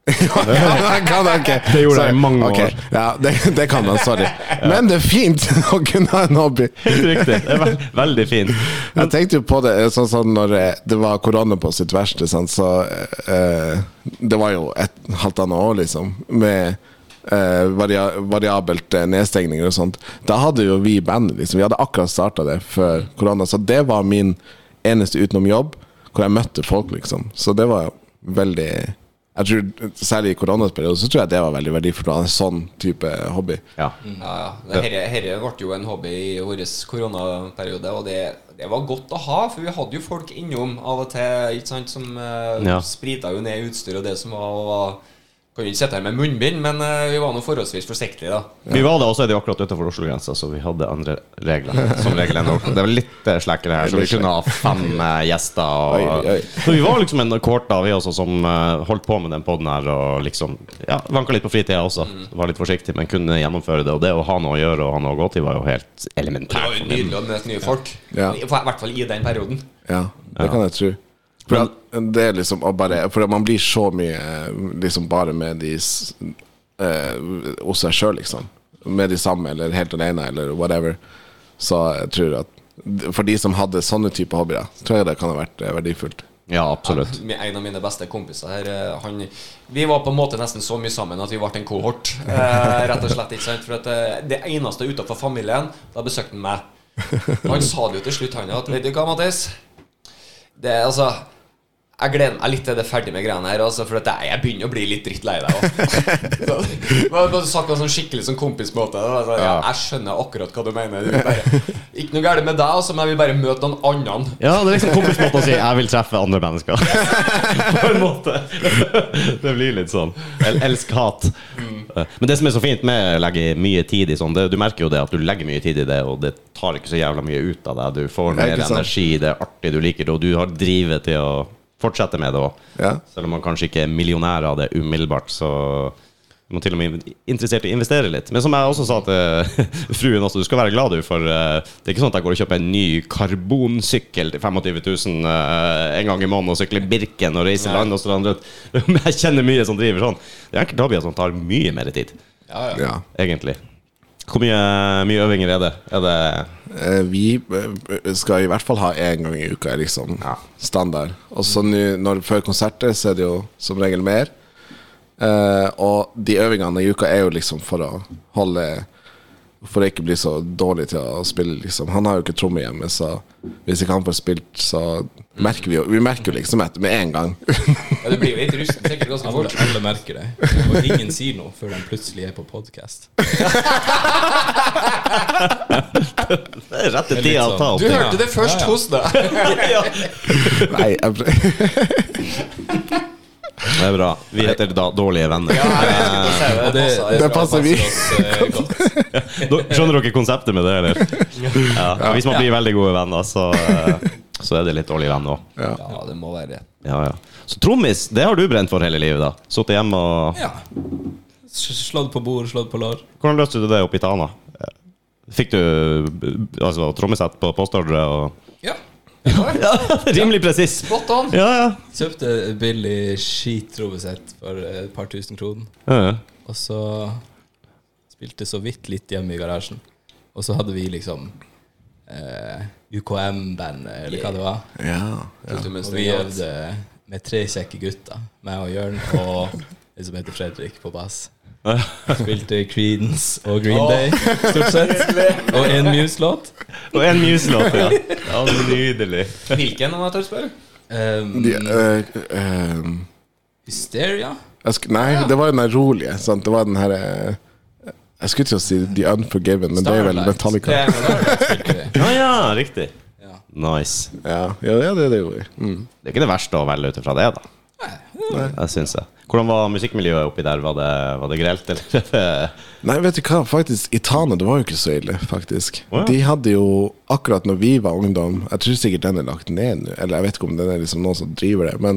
Speaker 3: Jeg kan
Speaker 1: Det
Speaker 3: ikke.
Speaker 1: gjorde jeg i
Speaker 3: Sorry.
Speaker 1: mange år.
Speaker 3: Ok, Ja, det, det kan man, sorry. Men det er fint å kunne ha en hobby.
Speaker 1: Helt riktig. Det er ve veldig fint.
Speaker 3: Jeg tenkte jo på det sånn sånn når eh, det var korona på sitt verste, sant, så eh, Det var jo et halvt annet år, liksom, med eh, varia variabelt eh, nedstengninger og sånt. Da hadde jo vi bandet, liksom. Vi hadde akkurat starta det før korona, så det var min eneste utenom jobb. hvor jeg møtte folk, liksom. Så det var veldig jeg tror, Særlig i koronaperioden så tror jeg det var veldig verdifullt å ha en sånn type hobby.
Speaker 1: Ja.
Speaker 2: Mm. Ja, ja. Det herre, herre ble jo en hobby i vår koronaperiode, og det, det var godt å ha, for vi hadde jo folk innom av og til ikke sant, som eh,
Speaker 1: Ja.
Speaker 2: sprita jo ned utstyr og det som var. Og, var- kan jo ikke sitte her med munnbind, men eh, vi var nå forholdsvis forsiktige, da.
Speaker 1: Vi var det, og så er det jo akkurat utenfor Oslo-grensa, så vi hadde andre regler som regel enn dere. Det var litt eh, slekkere her, så vi kunne ha fem eh, gjester.
Speaker 3: Oi, oi.
Speaker 1: Og, så vi var liksom en kohort da, vi også, som eh, holdt på med den poden her og liksom ja, vanka litt på fritida også. Var litt forsiktig, men kunne gjennomføre det. Og det å ha noe å gjøre og ha noe å gå til, var jo helt
Speaker 2: Det var
Speaker 1: elementært.
Speaker 2: jo
Speaker 1: for min-
Speaker 2: nydelig å møte nye folk.
Speaker 3: Ja.
Speaker 2: I hvert fall i den perioden.
Speaker 3: Ja, det kan jeg tro. For, at det er liksom å bare, for at man blir så mye eh, liksom bare med de s- eh, hos seg sjøl, liksom. Med de samme, eller helt alene, eller whatever. Så jeg tror at for de som hadde sånne type hobbyer, tror jeg det kan ha vært eh, verdifullt.
Speaker 1: Ja, absolutt.
Speaker 2: Med En av mine beste kompiser her eh, han, Vi var på en måte nesten så mye sammen at vi ble en kohort. Eh, rett og slett, ikke sant? For at eh, Det eneste utenfor familien, da besøkte han meg. Og han sa det jo til slutt, han at Vet du hva, Mattis? Det er altså jeg gleder meg litt til det er ferdig med greiene her. Altså, for at jeg, jeg begynner å bli litt drittlei deg òg. Sagt på en sånn skikkelig sånn kompismåte. da. Altså, ja, jeg skjønner akkurat hva du mener. Du vil bare, ikke noe galt med deg, altså, men jeg vil bare møte noen annen.
Speaker 1: Ja, det er liksom kompismåten å si 'jeg vil treffe andre mennesker'. På en måte. Det blir litt sånn. El Elsk-hat. Men det som er så fint med å legge mye tid i sånn, det, du merker jo det at du legger mye tid i det, og det tar ikke så jævla mye ut av deg. Du får
Speaker 3: Ja,
Speaker 1: mer
Speaker 3: ikke sant?
Speaker 1: energi, det er artig, du liker det, og du har drivet til å fortsette med det òg.
Speaker 3: Ja.
Speaker 1: Selv om man kanskje ikke er millionær av det umiddelbart, så er man til og med interessert i å investere litt. Men som jeg også sa til fruen også, du skal være glad du, for eh, det er ikke sånn at jeg går og kjøper en ny karbonsykkel til 25 000 eh, en gang i måneden og sykler Birken og reiser land og strand rundt. Men jeg kjenner mye som driver sånn. Det er enkelte hobbyer som tar mye mer tid,
Speaker 2: Ja, ja.
Speaker 3: Ja.
Speaker 1: egentlig. Hvor mye, mye øvinger er det? Er det
Speaker 3: Eh, Vi eh, skal i hvert fall ha én gang i uka, er liksom. Standard. Og så nå- når- før konserter, så er det jo som regel mer. Eh, og de øvingene i uka er jo liksom for å holde For å ikke bli så dårlig til å spille, liksom. Han har jo ikke tromme hjemme, så hvis ikke han får spilt, så merker vi jo Vi merker jo liksom etter med en gang.
Speaker 2: Ja, du blir jo litt rusten sikkert ganske
Speaker 4: Alle,
Speaker 2: fort.
Speaker 4: alle merker det. Og ingen sier noe før de plutselig er på podkast.
Speaker 1: det er rette
Speaker 4: Det er litt
Speaker 1: tida å ta
Speaker 4: sånn.
Speaker 1: opp
Speaker 2: Du
Speaker 1: ting.
Speaker 2: hørte det først
Speaker 4: Ja, ja.
Speaker 2: hos deg.
Speaker 3: Nei, jeg
Speaker 1: Det er bra. Vi heter da Dårlige venner.
Speaker 4: Og det,
Speaker 3: Det passer vi.
Speaker 4: passer oss, eh, godt.
Speaker 1: Nå- Skjønner dere konseptet med det, eller? Ja. og Hvis man blir veldig gode venner, så, eh, så er det litt dårlig venn òg.
Speaker 2: Ja, det må være det.
Speaker 1: Ja, ja. Så trommis, det har du brent for hele livet, da? Sittet hjemme og
Speaker 4: Ja. S- Slått på bord, slått på lår.
Speaker 1: Hvordan løste du det oppe i Tana? Fikk du eh, altså, trommesett på postordre og
Speaker 4: Ja.
Speaker 1: Ja, rimelig presis!
Speaker 2: Spot on.
Speaker 1: Ja, ja.
Speaker 4: Kjøpte et billig skitrovesett for eh, et par tusen kroner.
Speaker 1: ja. ja.
Speaker 4: Og så spilte så vidt litt hjemme i garasjen. Og så hadde vi liksom eh, UKM-band, eller hva det var.
Speaker 3: ja.
Speaker 4: Og vi øvde med tre kjekke gutter. Meg og Jørn og en som heter Fredrik på bass. Spilte Creedence og Green Day, stort sett. Og en Muse-låt.
Speaker 1: Og en Muse-låt, ja. ja. Nydelig.
Speaker 2: Hvilken, om jeg tør spørre?
Speaker 4: Um,
Speaker 3: De, eh, eh,
Speaker 4: Hysteria?
Speaker 3: jeg sk nei, det var den der rolige. Sant? Det var den her eh, Jeg skulle til å si The Unforgiven, men det er vel
Speaker 4: Starlight.
Speaker 3: Metallica.
Speaker 2: Det er
Speaker 4: Spilte vi.
Speaker 1: Ja, ja, riktig.
Speaker 4: Ja.
Speaker 1: Nice.
Speaker 3: Ja, ja det, det, det gjorde vi. Mm.
Speaker 1: Det er ikke det verste å velge ut ifra det, da. Jeg synes det. Hvordan var musikkmiljøet oppi der? Var det, var det grelt, eller?
Speaker 3: Nei, vet du hva, faktisk, i Tane det var jo ikke så ille, faktisk.
Speaker 1: Å, ja.
Speaker 3: De hadde jo, akkurat når vi var ungdom Jeg tror sikkert den er lagt ned nå, eller jeg vet ikke om den er liksom noen som driver det, men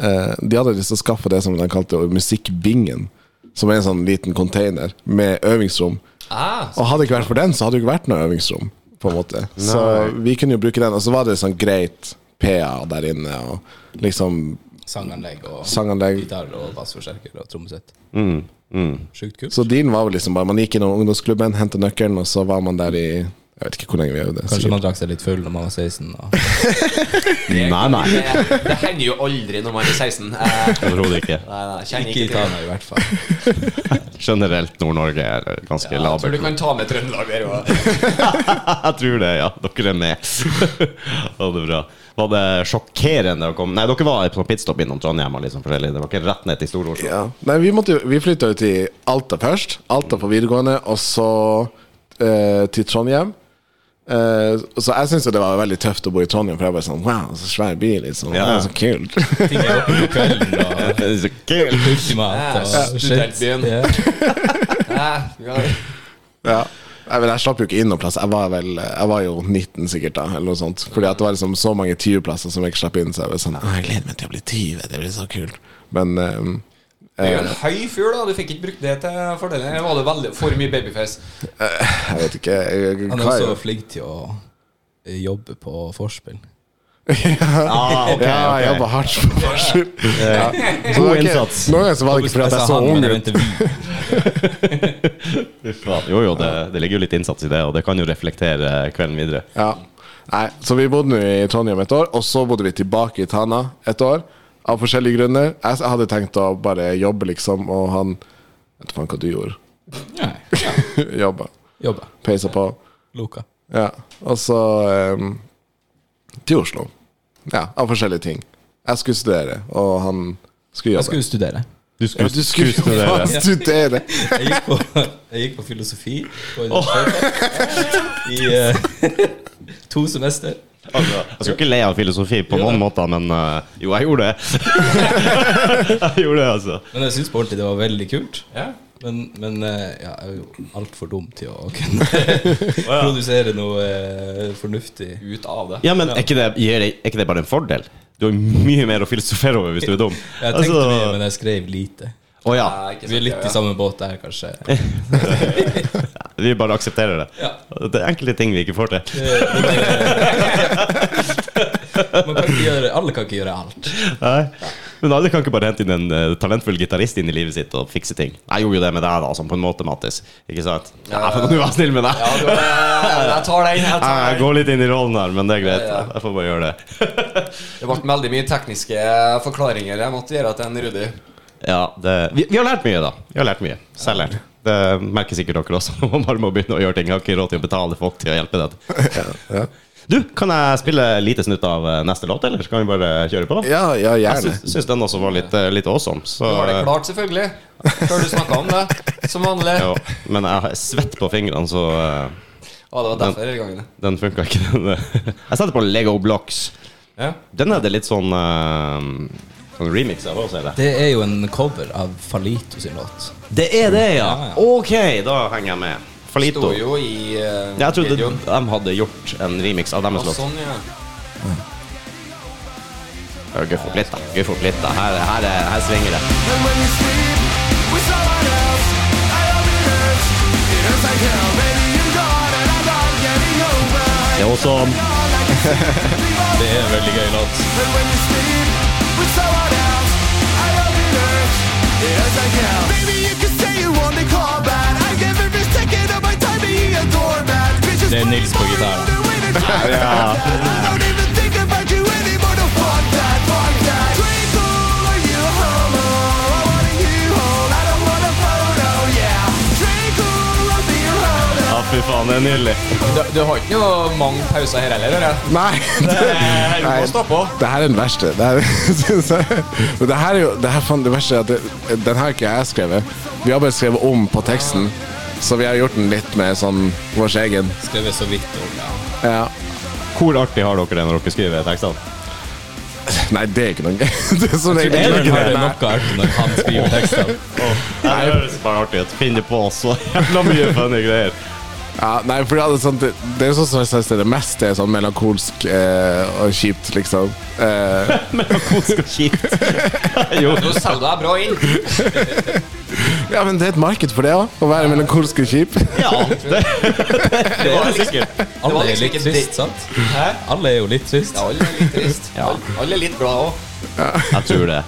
Speaker 3: eh, de hadde liksom skaffa det som de kalte Musikkbingen, som er en sånn liten container med øvingsrom.
Speaker 2: ah,
Speaker 3: Og hadde det ikke vært for den, så hadde det ikke vært noe øvingsrom. På en måte Så vi kunne jo bruke den, og så var det sånn greit PA der inne, og liksom
Speaker 4: Sanganlegg og
Speaker 3: sanganlegg.
Speaker 4: gitar og bassforsterker og trommesett. Sjukt kult.
Speaker 3: Så din var vel liksom bare Man gikk innom ungdomsklubben, henta nøkkelen, og så var man der i Jeg vet ikke hvor lenge vi øvde.
Speaker 4: Kanskje
Speaker 3: sikkert.
Speaker 4: man drakk seg litt full når man var 16. Og
Speaker 1: Nei, nei.
Speaker 2: det, det hender jo aldri når man er 16. Eh,
Speaker 1: Overhodet ikke.
Speaker 2: nei, nei, jeg kjenner ikke
Speaker 4: ikke
Speaker 2: til
Speaker 4: i
Speaker 2: det.
Speaker 4: Tana, i hvert fall.
Speaker 1: Generelt Nord-Norge er ganske
Speaker 2: Jeg tror
Speaker 1: labert.
Speaker 2: du kan ta med Trøndelag der òg.
Speaker 1: Jeg tror det, ja. Dere er med. Ha det bra. var det sjokkerende å komme Nei, dere var på pitstop innom Trondheim og liksom forskjellig. Det var ikke rett ned til Stor-Oslo.
Speaker 3: Ja. Nei, vi, måtte jo, vi flytta jo til Alta først. Alta på videregående, og så eh, til Trondheim. Eh, så jeg syns jo det var veldig tøft å bo i Trondheim, for jeg bare sånn Wow, så svær by, liksom.
Speaker 1: Ja.
Speaker 3: Det er så kult.
Speaker 4: Ting er åpne på kvelden og
Speaker 1: Det er så kult.
Speaker 4: ultimat og
Speaker 2: Ja,
Speaker 4: shit.
Speaker 2: studentbyen.
Speaker 4: Ja.
Speaker 2: Eh,
Speaker 3: ja. Jeg, men jeg slapp jo ikke inn noen plass. Jeg var, vel, jeg var jo 19 sikkert da, eller noe sånt. Fordi at det var liksom så mange 20-plasser som jeg ikke slapp inn. Så jeg var sånn «Å, Jeg gleder meg til å bli 20, det blir så kult. Men eh,
Speaker 2: Du er jo en høy fyr, da. Du fikk ikke brukt det til fordeler. Eller Var det veldig for mye babyface?
Speaker 3: jeg vet ikke jeg,
Speaker 4: Han er
Speaker 3: hva jeg-
Speaker 4: også flink til å eh, jobbe på forspill.
Speaker 1: Ah, ok,
Speaker 3: ja, jeg
Speaker 1: ok.
Speaker 3: jobba hardt for forskjell. Ja. Så det
Speaker 1: God
Speaker 3: var ikke-
Speaker 1: innsats.
Speaker 3: Noen ganger så var det ikke fordi at jeg så
Speaker 4: Altså, han,
Speaker 3: ung ut.
Speaker 4: men jeg mente vi.
Speaker 1: Fy faen. Jo, jo, det, det ligger jo litt innsats i det, og det kan jo reflektere kvelden videre.
Speaker 3: Ja. Nei, så vi bodde nå i Trondheim et år, og så bodde vi tilbake i Tana et år. Av forskjellige grunner. Jeg s- hadde tenkt å bare jobbe, liksom, og han Jeg vet faen hva du gjorde.
Speaker 4: Nei,
Speaker 3: Jobba.
Speaker 4: jobba.
Speaker 3: Peisa på.
Speaker 4: Loka.
Speaker 3: Ja. Og så ehm, til Oslo. Ja, av forskjellige ting. Jeg skulle studere, og han skulle
Speaker 4: Jeg
Speaker 3: jobbe.
Speaker 4: skulle studere.
Speaker 1: Du
Speaker 3: Ja,
Speaker 1: skulle,
Speaker 3: du skulle jo faen studere!
Speaker 4: Jeg gikk på, jeg gikk på filosofi på universitetet i eh, to semester.
Speaker 1: Altså, jeg skal ikke le av filosofi på noen måter, men eh, jo, jeg gjorde det. jeg gjorde det, altså.
Speaker 4: Men jeg syns på ordentlig det var veldig kult.
Speaker 2: Ja.
Speaker 4: Men, men eh, ja, jeg er jo altfor dum til å kunne produsere noe eh, fornuftig.
Speaker 2: Ut av det.
Speaker 1: Ja, men er ikke det, gir det, er ikke det bare en fordel? Du har jo mye mer å filosofere over hvis du er dum. Altså,
Speaker 4: Jeg
Speaker 3: Altså-
Speaker 4: tenkte mye, men jeg skrev lite.
Speaker 1: Å ja.
Speaker 2: Nei, ikke sant,
Speaker 4: Vi er
Speaker 2: ja,
Speaker 4: litt
Speaker 2: ja.
Speaker 4: i samme båt der, kanskje.
Speaker 1: Vi bare aksepterer det.
Speaker 4: Ja.
Speaker 1: Det er enkelte ting vi ikke får til.
Speaker 4: Man kan ikke gjøre, alle kan ikke gjøre alt.
Speaker 1: Nei. Men alle kan ikke bare hente inn en eh, talentfull gitarist inn i livet sitt og fikse ting. Jeg gjorde jo det med deg, da, sånn på en måte, Mattis. Ikke sant? Ja, for nå var jeg snill med deg.
Speaker 2: Ja, du, eh, jeg, jeg tar den. Jeg
Speaker 1: Nei,
Speaker 2: tar
Speaker 1: Jeg
Speaker 2: den.
Speaker 1: går litt inn i rollen her, men det er greit.
Speaker 2: Ja, ja.
Speaker 1: Jeg får bare gjøre det.
Speaker 2: Det ble veldig mye tekniske forklaringer jeg måtte gjøre til en Rudi.
Speaker 1: Ja, det, vi, vi har lært mye, da. Vi har lært mye. Selvlært. Det merker sikkert dere også. Man bare må begynne å gjøre ting. Jeg har ikke råd til å betale folk til å hjelpe deg. Du, kan jeg spille lite snutt av eh, neste låt, eller skal vi bare kjøre på?
Speaker 3: Ja, ja,
Speaker 1: Jeg
Speaker 3: gjerne.
Speaker 1: syns, syns den også var litt, eh, litt awesome. Så,
Speaker 2: Du har det
Speaker 1: eh,
Speaker 2: klart, selvfølgelig. Før du snakket om det. Som vanlig.
Speaker 1: jo, men jeg har svett på fingrene, så eh,
Speaker 2: Å, det var derfor hele gangen.
Speaker 1: Den funka ikke, den. eh, Jeg setter på Lego Blocks.
Speaker 2: Ja.
Speaker 1: Den er det litt sånn eh, Sånn remix av òg, ser jeg.
Speaker 4: Det er jo en cover av Falito sin låt.
Speaker 1: Det er det, ja!
Speaker 4: Ja, ja.
Speaker 1: Ok, da henger jeg med. Falito.
Speaker 2: Sto jo i eh,
Speaker 1: Jeg trodde
Speaker 2: videoen.
Speaker 1: de hadde gjort en remix av deres
Speaker 2: Og
Speaker 1: låt.
Speaker 2: sånn, ja.
Speaker 1: Ja, Guff opp litt, da. Guff opp litt, da. Her, her, er- her svinger det.
Speaker 5: And when you sleep with someone else, I hope it hurts. It hurts like hell. Baby, you're gone and I'm not getting over.
Speaker 1: Det er også
Speaker 5: All I can say is leave all
Speaker 4: Det er en veldig gøy låt.
Speaker 5: And when you sleep with someone else, I hope it hurts. It hurts like hell. Baby, you can say you want to call back. I give every second of my time being a doormat. Bitches
Speaker 4: Det er Nils på gitar.
Speaker 5: Ja. I don't even think about you anymore. No, fuck that, fuck that. Twinkle, are you homo? I want a U-Haul. I don't want a photo, yeah. Twinkle, I'll be your homo.
Speaker 1: Ja, fy faen, det er nydelig.
Speaker 2: Du, du har ikke noe mange pauser her heller? Eller?
Speaker 3: Nei!
Speaker 2: Du må stå på.
Speaker 3: Det her er den verste. Det her, synes jeg. Men det her er jo det her, faen, det verste er at det, Den her har ikke jeg skrevet. Vi har bare skrevet om på teksten. Så vi har gjort den litt med sånn vår egen.
Speaker 4: Skrevet så vidt om ja.
Speaker 3: Ja.
Speaker 1: Hvor artig har dere det når dere skriver tekstene?
Speaker 3: Nei, det er ikke noe gøy. Det er sånn som regel
Speaker 1: det er
Speaker 4: Bjørn
Speaker 1: ikke det,
Speaker 4: har det
Speaker 1: nei.
Speaker 4: noe artig når han skriver tekstene.
Speaker 1: Det høres bare artig ut. Finner på så jævla mye funny greier.
Speaker 3: Ja, nei, for det, er sånn, det, det er sånn som jeg synes det meste er sånn melankolsk eh, og kjipt, liksom. Eh,
Speaker 1: Melankolsk og kjipt. Jo.
Speaker 2: Nå selger du deg bra inn.
Speaker 3: ja, men det er et marked for det òg, å være melankolsk og kjip.
Speaker 1: Ja, det, det var det sikkert.
Speaker 4: Alle
Speaker 2: var
Speaker 4: er
Speaker 2: liksom
Speaker 4: litt
Speaker 2: ikke det-
Speaker 4: trist, sant?
Speaker 2: Hæ?
Speaker 4: Alle er jo litt trist.
Speaker 2: Ja, alle er litt trist. Alle, alle er litt glad òg.
Speaker 1: Jeg tror det.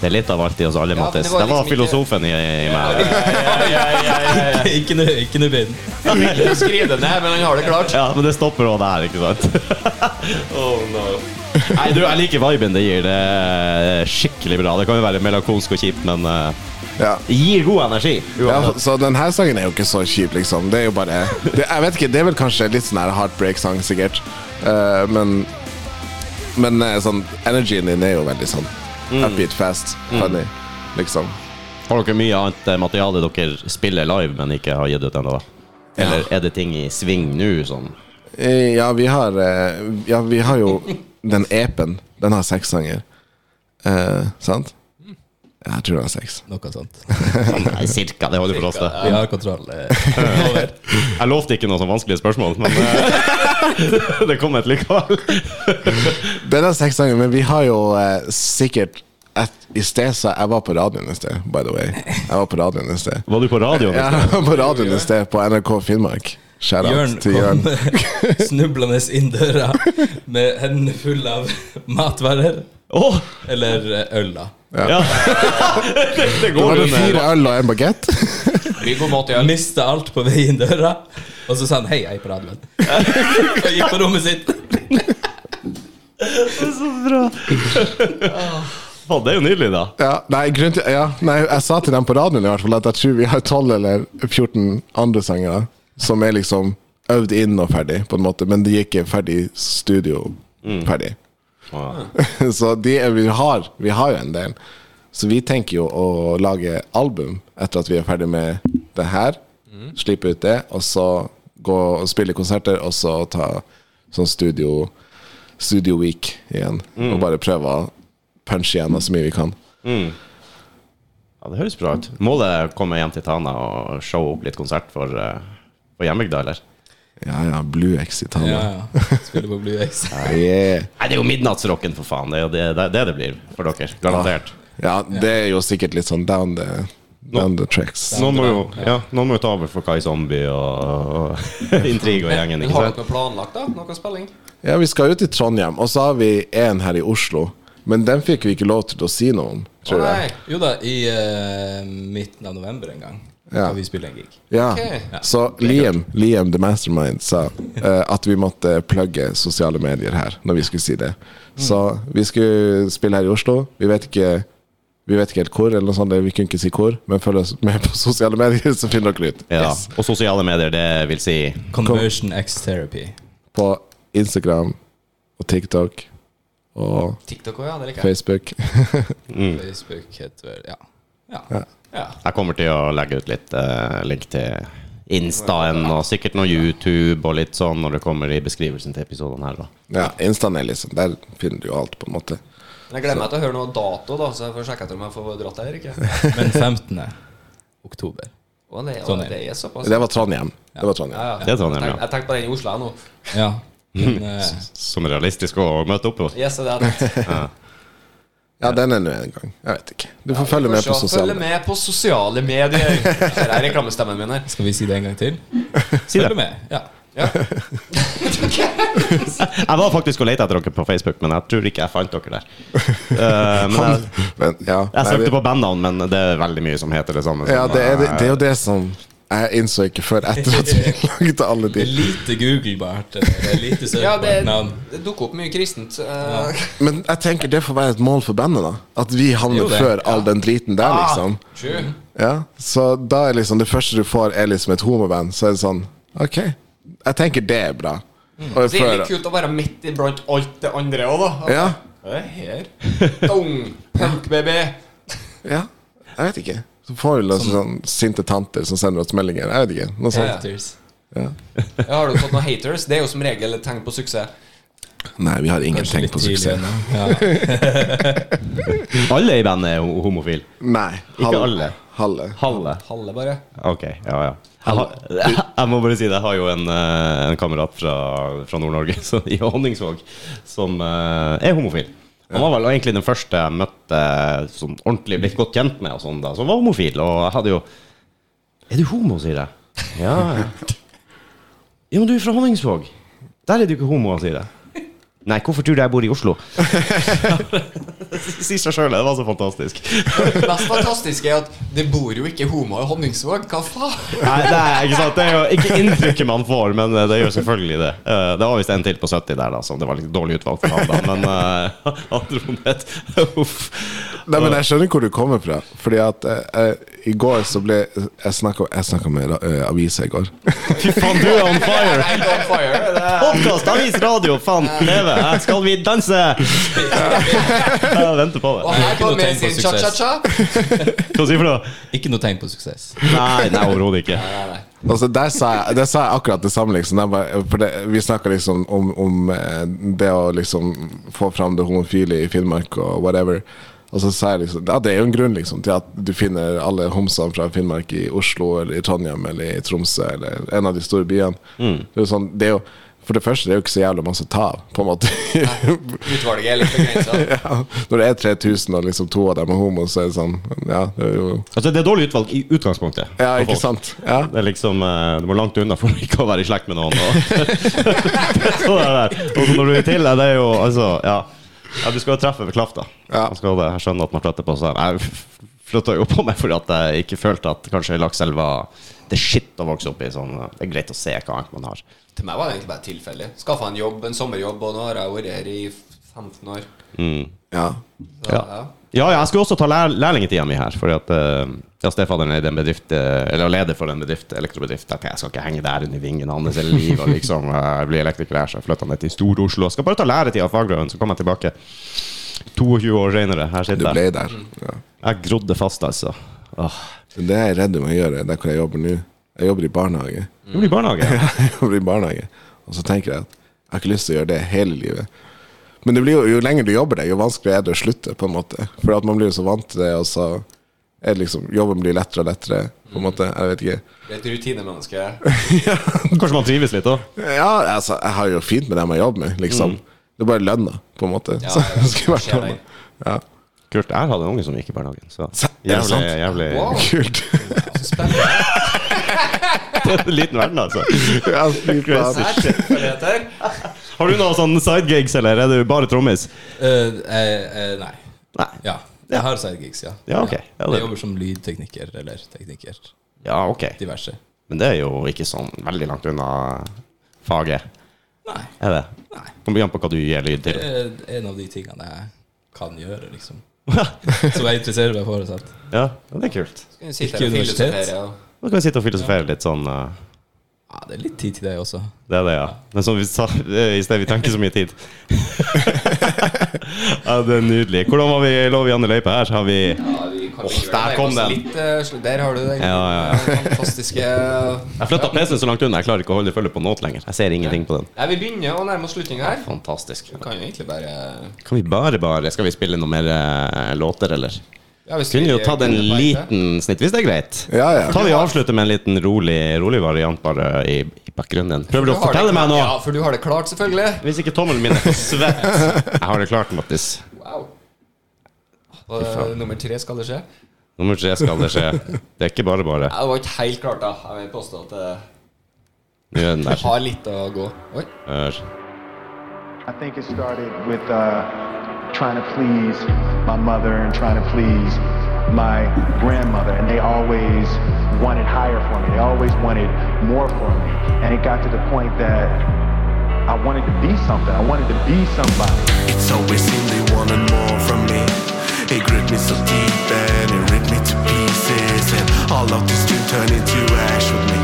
Speaker 1: Det er litt av alt i oss alle,
Speaker 2: Ja,
Speaker 1: Mattis.
Speaker 2: det var
Speaker 1: Det var
Speaker 2: liksom ikke-
Speaker 1: filosofen i, i meg.
Speaker 4: Ikke noe ikke noe bind.
Speaker 2: Skriv det ned, men han har det klart.
Speaker 1: Ja, men det stopper òg der, ikke sant? oh no. Nei, du, jeg liker viben det gir. Det er skikkelig bra. Det kan jo være melankolsk og kjipt, men eh,
Speaker 3: Ja.
Speaker 1: det gir god energi.
Speaker 3: Ja,
Speaker 1: uansett.
Speaker 3: så den her sangen er jo ikke så kjip, liksom. Det er jo bare det, Jeg vet ikke, det er vel kanskje litt sånn her heartbreak-sang, sikkert. Eh, men Men eh, sånn, energien din er jo veldig sånn upbeat, fast, funny, liksom.
Speaker 1: Har dere mye annet eh, materiale dere spiller live, men ikke har gitt ut ennå? da? Eller er det ting i sving nå? Sånn?
Speaker 3: Eh, Ja, vi har eh, Ja, vi har jo den epen. Den har seks sanger. Eh, sant? Ja, Jeg tror den har seks.
Speaker 4: Noe sånt.
Speaker 1: Nei, cirka. Det holder for oss, det.
Speaker 4: Vi har kontroll. eh.
Speaker 1: Jeg lovte ikke noe sånn vanskelige spørsmål, men eh, det kom et likevel.
Speaker 3: Den har seks sanger, men vi har jo eh, sikkert et, I sted så Jeg var på radioen i sted, by the way. Jeg var på radioen i sted.
Speaker 1: Var du på radioen?
Speaker 3: Ja, jeg var på radioen i sted, på NRK Finnmark. Shout
Speaker 4: Jørn
Speaker 3: out til Jørn.
Speaker 4: kom snublende inn døra med hendene fulle av matvarer.
Speaker 1: Åh,
Speaker 4: Eller eh, øl, da.
Speaker 1: ja. det, det
Speaker 3: Var
Speaker 1: går
Speaker 3: det
Speaker 1: under.
Speaker 3: fire øl og en bagett?
Speaker 2: Vi går mot igjen.
Speaker 4: Mista alt på vei inn døra, og så sa han 'hei, jeg er på radioen'. Og gikk på rommet sitt.
Speaker 1: Faen, det er jo nydelig, da.
Speaker 3: Ja, nei, grunn til, ja, nei, jeg sa til dem på radioen i hvert fall at jeg tror vi har 12 eller 14 andre sanger som er liksom øvd inn og ferdig, på en måte, men de er ikke ferdig studio ferdig. Så de er, vi, har, vi har jo en del. Så vi tenker jo å lage album etter at vi er ferdig med det her. Slippe ut det, og så gå og spille konserter, og så ta sånn studio Studio Week igjen. Og bare prøve å punche igjennom så mye vi kan.
Speaker 1: Ja, Det høres bra ut. Målet er å komme hjem til Tana og showe opp litt konsert for, eh, for hjembygda, eller?
Speaker 3: Ja, ja, Blue X i Tana.
Speaker 4: Ja, ja. Spiller på Blue X.
Speaker 3: Yeah.
Speaker 1: Nei, det er jo midnattsrocken, for faen. Det er jo det det, er det, det blir for dere. Garantert.
Speaker 3: Ja, det er jo sikkert litt sånn down the, down the tracks.
Speaker 1: Noen må, jo, ja, noen må jo ta over for Kai Zombie og, og Intrigue og gjengen.
Speaker 2: Men
Speaker 1: ikke
Speaker 2: har
Speaker 1: sant?
Speaker 2: dere noe planlagt, da? Noe spilling?
Speaker 3: Ja, vi skal jo til Trondheim, og så har vi en her i Oslo. Men den fikk vi ikke lov til å si noe om, tror
Speaker 2: Å,
Speaker 3: jeg.
Speaker 2: nei.
Speaker 4: Jo da, i eh, midten av november en gang
Speaker 3: Ja.
Speaker 4: skal vi spille en gig.
Speaker 3: Ja.
Speaker 2: Ok.
Speaker 3: Så Liam, Liam the Mastermind sa eh, at vi måtte plugge sosiale medier her når vi skulle si det. Så vi skulle spille her i Oslo. Vi vet ikke vi vet ikke helt hvor, eller noe sånt, vi kunne ikke si hvor, men følg oss med på sosiale medier, så finner dere ut.
Speaker 1: Ja. Og sosiale medier, det vil si
Speaker 4: Conversion X Therapy.
Speaker 3: på Instagram og TikTok og
Speaker 2: TikTok også, ja. Det liker jeg.
Speaker 3: Facebook.
Speaker 4: Facebook heter vel Ja. ja.
Speaker 2: Ja.
Speaker 1: Jeg kommer til å legge ut litt eh, link til Instaen og sikkert noe YouTube og litt sånn når det kommer i beskrivelsen til episoden her. da
Speaker 3: Ja, Instaen er liksom Der finner du jo alt, på en måte.
Speaker 2: Men jeg gleder meg til å høre noe dato, da, så jeg får sjekke etter om jeg får dratt der eller ikke.
Speaker 4: Men 15. oktober.
Speaker 2: Å, det, å,
Speaker 4: Sånn er
Speaker 2: det er såpass.
Speaker 3: Det var Trondheim. Det var
Speaker 2: Ja,
Speaker 3: Trondheim.
Speaker 2: ja.
Speaker 1: Det er Trondheim,
Speaker 2: Jeg
Speaker 1: ja.
Speaker 2: tenk- Jeg tenkte på den i Oslo jeg, nå.
Speaker 4: Ja. Men, eh,
Speaker 1: Som er realistisk å møte opp på.
Speaker 2: Yes, det er det. jeg tenkte.
Speaker 3: Ja, den er nå en gang. Jeg vet ikke. Du får følge med
Speaker 2: Kanskje
Speaker 3: på
Speaker 2: å Følge
Speaker 3: sosiale medier.
Speaker 2: med på sosiale medier. Her er reklamestemmen min her.
Speaker 4: skal vi si det en gang til?
Speaker 1: Si
Speaker 4: Følg
Speaker 1: det.
Speaker 4: med. Ja.
Speaker 1: Jeg var faktisk og lette etter dere på Facebook, men jeg tror ikke jeg fant dere der. Eh, men jeg,
Speaker 3: Men, ja.
Speaker 1: jeg
Speaker 3: Nei,
Speaker 1: søkte
Speaker 3: vi-
Speaker 1: på bandnavn, men det er veldig mye som heter det samme. som,
Speaker 3: ja, det er, det, det er jo
Speaker 1: eh,
Speaker 3: det som jeg innså ikke før etter at vi laget alle
Speaker 4: Det er
Speaker 3: de.
Speaker 4: lite googlebart. eh, Det er lite
Speaker 2: Ja,
Speaker 4: søkbart
Speaker 2: det,
Speaker 4: navn.
Speaker 2: det dukker opp mye kristent. eh,
Speaker 3: Men jeg tenker det får være et mål for bandet, da. At vi havner
Speaker 4: Jo, det.
Speaker 3: før all den driten der, liksom.
Speaker 2: True.
Speaker 3: Ja, så da er liksom det første du får, er liksom et homoband. Så er det sånn Ok, jeg tenker det er bra.
Speaker 2: Så det
Speaker 3: Og
Speaker 2: er
Speaker 3: før-
Speaker 2: litt kult å være midt iblant alt det andre òg, da.
Speaker 3: Ja,
Speaker 2: Det er her. Dong! Punk, baby!
Speaker 3: ja, jeg vet ikke. Så får vi liksom sånn sinte tanter som sender oss meldinger. Jeg vet ikke.
Speaker 2: Ja,
Speaker 3: Noe sånt.
Speaker 2: ja.
Speaker 4: Tears.
Speaker 2: Ja, Har du fått noen haters? Det er jo som regel et tegn på suksess.
Speaker 3: Nei, vi har ingen
Speaker 4: Kanskje
Speaker 3: tegn
Speaker 4: litt
Speaker 3: på
Speaker 4: tidlig
Speaker 3: suksess.
Speaker 4: ennå. Ja.
Speaker 1: Alle i bandet er ho- homofile.
Speaker 3: Nei.
Speaker 1: alle.
Speaker 3: Halve.
Speaker 1: Halve.
Speaker 2: Halve, bare.
Speaker 1: Ok, ja, ja. Jeg, har, jeg må bare si det. Jeg har jo en, eh, en kamerat fra, fra Nord-Norge så- i Honningsvåg som eh, er homofil. Han var vel egentlig den første jeg møtte som ordentlig blitt godt kjent med, og sånn da, som var homofil. Og jeg hadde jo Er du homo, sier jeg. Ja, ja. Ja, men du er fra Honningsvåg. Der er du ikke homo, sier jeg. Nei, hvorfor tror du jeg bor i Oslo? sier seg sjøl, det var så fantastisk.
Speaker 2: Det mest fantastiske er at det bor jo ikke homoer i Honningsvåg. Hva faen?
Speaker 1: Nei, det er ikke sant Det er jo ikke inntrykket man får, men eh, det gjør selvfølgelig det. Eh, Det var visst en til på 70 der, da, så det var litt dårlig utvalg for han, da. Men eh, han dro ned et- Uff.
Speaker 3: Nei, men Jeg skjønner hvor du kommer fra. Fordi at eh, eh, I går så ble Jeg snakka jeg snakket med eh, avisa i går.
Speaker 1: Fy faen, du er on fire!
Speaker 2: I'm on fire. Det er
Speaker 1: Podkast, avis, radio, faen, leve! Her Skal vi danse? Jeg venter på
Speaker 2: Og
Speaker 1: det.
Speaker 2: her kommer
Speaker 4: Ikke noe tegn på
Speaker 2: sin cha-cha-cha.
Speaker 1: Hva sier du for noe?
Speaker 4: Ikke noe tegn på suksess.
Speaker 1: Nei, nei overhodet ikke.
Speaker 3: Altså, der, sa jeg, der sa jeg akkurat det samme. Liksom. Der bare, for det, vi snakka liksom om, om eh, det å liksom få fram det homofile i Finnmark og whatever. Og så sa jeg liksom Ja, det er jo en grunn liksom til at du finner alle homsene fra Finnmark i Oslo eller i Trondheim eller i Tromsø eller en av de store byene. Det er jo sånn, det er jo, for det første, det er jo ikke så jævla masse å ta av, på en måte.
Speaker 2: Utvalget er litt begrensa.
Speaker 3: ja, når det er 3000, og liksom to av dem er homo, så er det sånn Ja, det er jo
Speaker 1: Altså, det er dårlig utvalg i utgangspunktet.
Speaker 3: Ja,
Speaker 1: for
Speaker 3: ikke
Speaker 1: folk.
Speaker 3: sant? Ja.
Speaker 1: Det er liksom eh, Du må langt unna for ikke å være i slekt med noen. Og, så det der. og så når du er til deg, det er jo altså Ja, ja du skal jo treffe ved klafta.
Speaker 3: Ja.
Speaker 1: Man skal det. Jeg skjønner at man flytter på seg. Jeg flytta jo på meg fordi at jeg ikke følte at kanskje Lakselv var det er shit å vokse opp i. Sånn, det er greit å se hva annet man har.
Speaker 2: Til meg var det egentlig bare tilfeldig. Skaffa en jobb, en sommerjobb, og nå har jeg vært her i 15 år.
Speaker 3: ja.
Speaker 2: Så, ja.
Speaker 1: Ja, ja, jeg skulle også ta lær lærlingetida mi her. Fordi at uh, ja, Stefaderen er i den bedrift, eh, eller leder for en bedrift, elektrobedrift. Tenkte Jeg jeg skal ikke henge der under vingen hans hele livet. og Liksom, eh, jeg blir elektriker her, så jeg flytta ned til Stor-Oslo. Jeg Skal bare ta læretida av fagprøven, så kommer jeg tilbake 22 år senere Her
Speaker 3: Du
Speaker 1: sitter jeg.
Speaker 3: ble der. Ja.
Speaker 1: Jeg grodde fast, altså. Åh.
Speaker 3: Det er jeg redd du må gjøre der hvor jeg jobber nå. Jeg jobber i barnehage.
Speaker 1: Det blir barnehage.
Speaker 3: Jeg jobber i barnehage Og så tenker jeg at jeg har ikke lyst til å gjøre det hele livet. Men det blir jo, jo lenger du jobber der, jo vanskeligere er det å slutte. på en måte For at man blir jo så vant til det, og så er det liksom Jobben blir lettere og lettere. På en måte, Jeg vet ikke.
Speaker 2: Det er et rutinemenneske.
Speaker 1: Kanskje man trives litt òg.
Speaker 3: Ja, altså, jeg har jo fint med dem jeg jobber med, liksom. Det er bare lønna, på en måte.
Speaker 2: Ja,
Speaker 3: Så
Speaker 2: ja,
Speaker 3: det skulle vært
Speaker 2: skjer
Speaker 3: lønna.
Speaker 2: det.
Speaker 3: Ja.
Speaker 1: Kult. Jeg hadde en unge som gikk i barnehagen. Så
Speaker 3: Så- er det
Speaker 1: jævlig,
Speaker 3: sant?
Speaker 1: jævlig
Speaker 2: Wow.
Speaker 3: Kult.
Speaker 2: Spennende.
Speaker 1: Liten verden, altså.
Speaker 3: Ja, fy faen.
Speaker 2: Her, tilfeldigheter.
Speaker 1: Har du noen sånne sidegigs, eller er du bare trommis?
Speaker 4: Eh, eh, eh, nei.
Speaker 1: Nei.
Speaker 4: Ja. Jeg har sidegigs, ja.
Speaker 1: Ja, ok. Ja, det-
Speaker 4: Jeg jobber som lydtekniker eller tekniker.
Speaker 1: Ja, ok.
Speaker 4: Diverse.
Speaker 1: Men det er jo ikke sånn veldig langt unna faget,
Speaker 4: Nei.
Speaker 1: er det?
Speaker 4: Nei.
Speaker 1: Kommer an på hva du gir lyd
Speaker 4: Det
Speaker 1: til.
Speaker 4: er en av de tingene jeg kan gjøre, liksom. Som jeg interesserer meg for. Sant?
Speaker 1: Ja, men det er kult.
Speaker 2: Skal vi sitte
Speaker 4: Ikke
Speaker 2: her og
Speaker 4: universitet.
Speaker 2: filosofere, og-
Speaker 1: Nå kan vi sitte og filosofere litt sånn. eh,
Speaker 4: Ja, det er litt tid til det også.
Speaker 1: Det er det, ja. Men som vi sa eh, i sted, vi tenker så mye tid. ja, det er nydelig. Hvordan var vi lov i andre løype her? Har vi Jeg
Speaker 2: Ja, vi kan
Speaker 1: Åh,
Speaker 2: ikke gjøre
Speaker 1: der
Speaker 2: det.
Speaker 1: kom
Speaker 2: Det er
Speaker 1: den.
Speaker 2: litt, eh, sl- Der har du den
Speaker 1: Ja, ja, ja.
Speaker 2: fantastiske Nei,
Speaker 1: flytta PC-en så langt unna, jeg klarer ikke å holde følge på noe lenger. Jeg ser ingenting på den.
Speaker 2: Vi begynner å nærme oss slutninga her.
Speaker 1: Fantastisk.
Speaker 2: Vi kan jo egentlig bare
Speaker 1: Kan vi bare, bare Skal vi spille noen mer eh, låter, eller?
Speaker 2: ja, hvis vi-
Speaker 1: Kunne jo tatt en
Speaker 2: kunne bare-
Speaker 1: liten snitt, hvis det er greit.
Speaker 3: Ja, ja.
Speaker 1: Ta vi og avslutter med en liten rolig, rolig variant bare i, i bakgrunnen. Prøver du å
Speaker 2: har det
Speaker 1: fortelle meg
Speaker 2: klart-
Speaker 1: noe?
Speaker 2: Ja, for du har det klart, selvfølgelig.
Speaker 1: Hvis ikke tommelen min er for svett Jeg har det klart, Mattis.
Speaker 2: Wow. Og, eh, nummer tre skal det skje?
Speaker 1: Nummer tre skal det skje. Det er ikke bare bare.
Speaker 2: Ja, det var ikke helt klart, da. Jeg vil påstå at det
Speaker 1: Nå er den der.
Speaker 2: har litt å gå. Oi.
Speaker 1: Hør.
Speaker 6: I think it started with uh, trying to please my mother and trying to please my grandmother, and they always wanted higher for me. They always wanted more for me, and it got to the point that I wanted to be something. I wanted to be somebody.
Speaker 5: It's always seemed they wanted more from me. It gripped me so deep and it ripped me to pieces. And all of this dream turned into ash with me.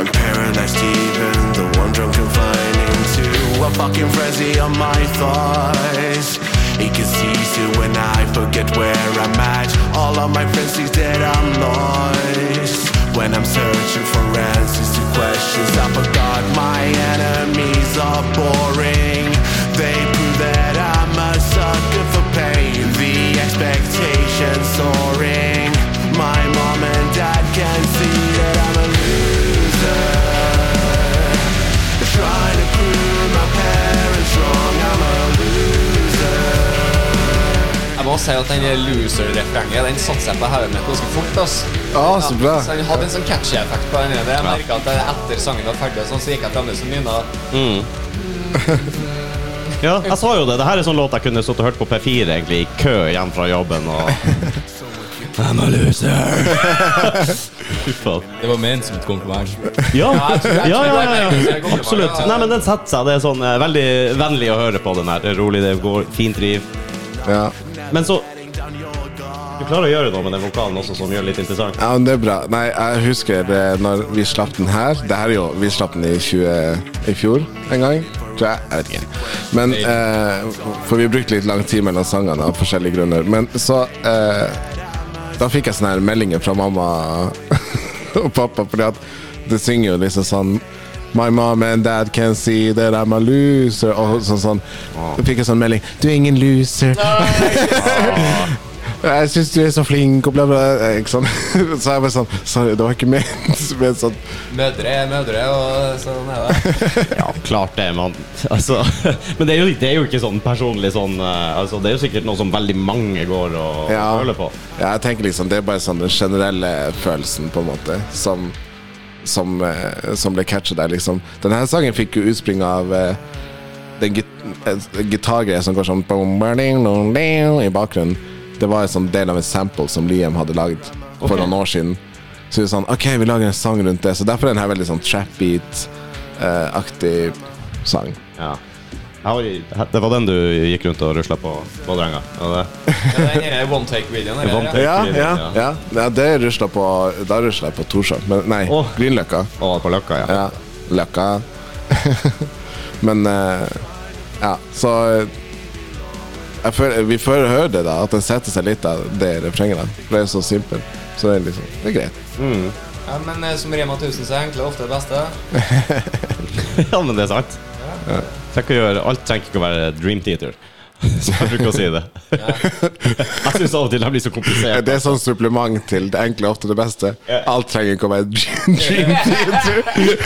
Speaker 5: And paralyzed even the one drunk confined into a fucking frenzy on my thighs. It gets easier when I forget where I'm at. All of my friends think that I'm lost. When I'm searching for answers to questions I forgot, my enemies are boring. They prove that I'm a sucker for pain. The expectation soaring. My mom and dad can see that I'm a loser. Trying to prove my parents wrong. I'm a
Speaker 2: Jeg må si at den der loser-refrenget Den satte seg på hodet mitt ganske fort. ass
Speaker 3: Ja, så bra.
Speaker 2: så den hadde en sånn catchy effekt på den. der. Jeg merket at jeg etter sangen var ferdig, og sånn, så gikk jeg fremdeles og nynna.
Speaker 1: Ja, jeg sa jo det. Dette er sånn låt jeg kunne stått og hørt på P4 egentlig i kø hjem fra jobben. Og... I'm a loser. Fy faen.
Speaker 4: Det var ment som et kompliment.
Speaker 1: Ja,
Speaker 2: jeg tror- jeg
Speaker 1: ja, ja,
Speaker 2: tror det er
Speaker 1: ja,
Speaker 2: veldig
Speaker 1: ja.
Speaker 2: god
Speaker 1: absolutt.
Speaker 2: kommentar.
Speaker 1: Nei, men den setter seg. Det er sånn eh, veldig vennlig å høre på den her. Det er Rolig, det går fint driv.
Speaker 3: Ja.
Speaker 1: Men så Du klarer å gjøre noe med den vokalen også som gjør det litt interessant.
Speaker 3: ja, men det er bra. Nei, jeg husker det når vi slapp den her. Det her er jo Vi slapp den i, 20, i fjor en gang. Tror jeg. Jeg vet ikke. Men eh, For vi brukte litt lang tid mellom sangene av forskjellige grunner. Men så eh, Da fikk jeg sånne her meldinger fra mamma og pappa, fordi at det synger jo liksom sånn My mom and dad can see that I'm a loser. Og sånn sånn. Da fikk jeg sånn melding. Du er ingen loser. Jeg syns du er så flink og bla, bla. eh, Ikke sånn. Så jeg bare sånn Sorry, det var ikke ment. Men sånn
Speaker 2: Mødre er mødre, og sånn er det.
Speaker 1: Ja, klart det, mann. Altså, men det er, jo, det er jo ikke sånn personlig sånn eh, altså, Det er jo sikkert noe som veldig mange går og
Speaker 3: Ja.
Speaker 1: føler på.
Speaker 3: Ja, jeg tenker liksom Det er bare sånn den generelle følelsen, på en måte, som som, eh, som ble catchet der, liksom. Denne her sangen fikk jo utspring av eh, den git eh, gitargreia som går sånn bom, ba, ding, dong, ding, i bakgrunnen. Det var en sånn del av en sample som Liam hadde lagd for noen år siden. Så vi var sånn OK, vi lager en sang rundt det. Så derfor er den her veldig sånn trap beat-aktig sang.
Speaker 1: Ja. Jeg Har, det var den du gikk rundt og rusla på Vålerenga? var det?
Speaker 2: Ja, Den her one take-videoen her.
Speaker 1: One
Speaker 2: ja.
Speaker 1: take.
Speaker 3: Ja,
Speaker 1: Virkelig,
Speaker 3: ja, ja. ja det rusler på Da rusler jeg på Torshov. Men nei,
Speaker 1: Åh.
Speaker 3: Grünerløkka.
Speaker 1: Å, på Løkka, ja.
Speaker 3: Ja. Løkka. Men eh, Ja, så eh, jeg føler, Vi føler hører det, da. At den setter seg litt av det refrenget. da. For det er jo så simpelt. Så det er liksom Det er greit.
Speaker 2: Ja, men eh, som Rema 1000 så er enkle ofte det beste.
Speaker 1: ja, men det er sant. Trenger ikke å gjøre, alt trenger ikke å være Dream Theater. Som jeg bruker å si det. jeg syns av og til det blir så
Speaker 3: Eh,
Speaker 1: komplisert.
Speaker 3: Det er sånn supplement til det enkle, ofte det beste. Alt trenger ikke å være dream theater.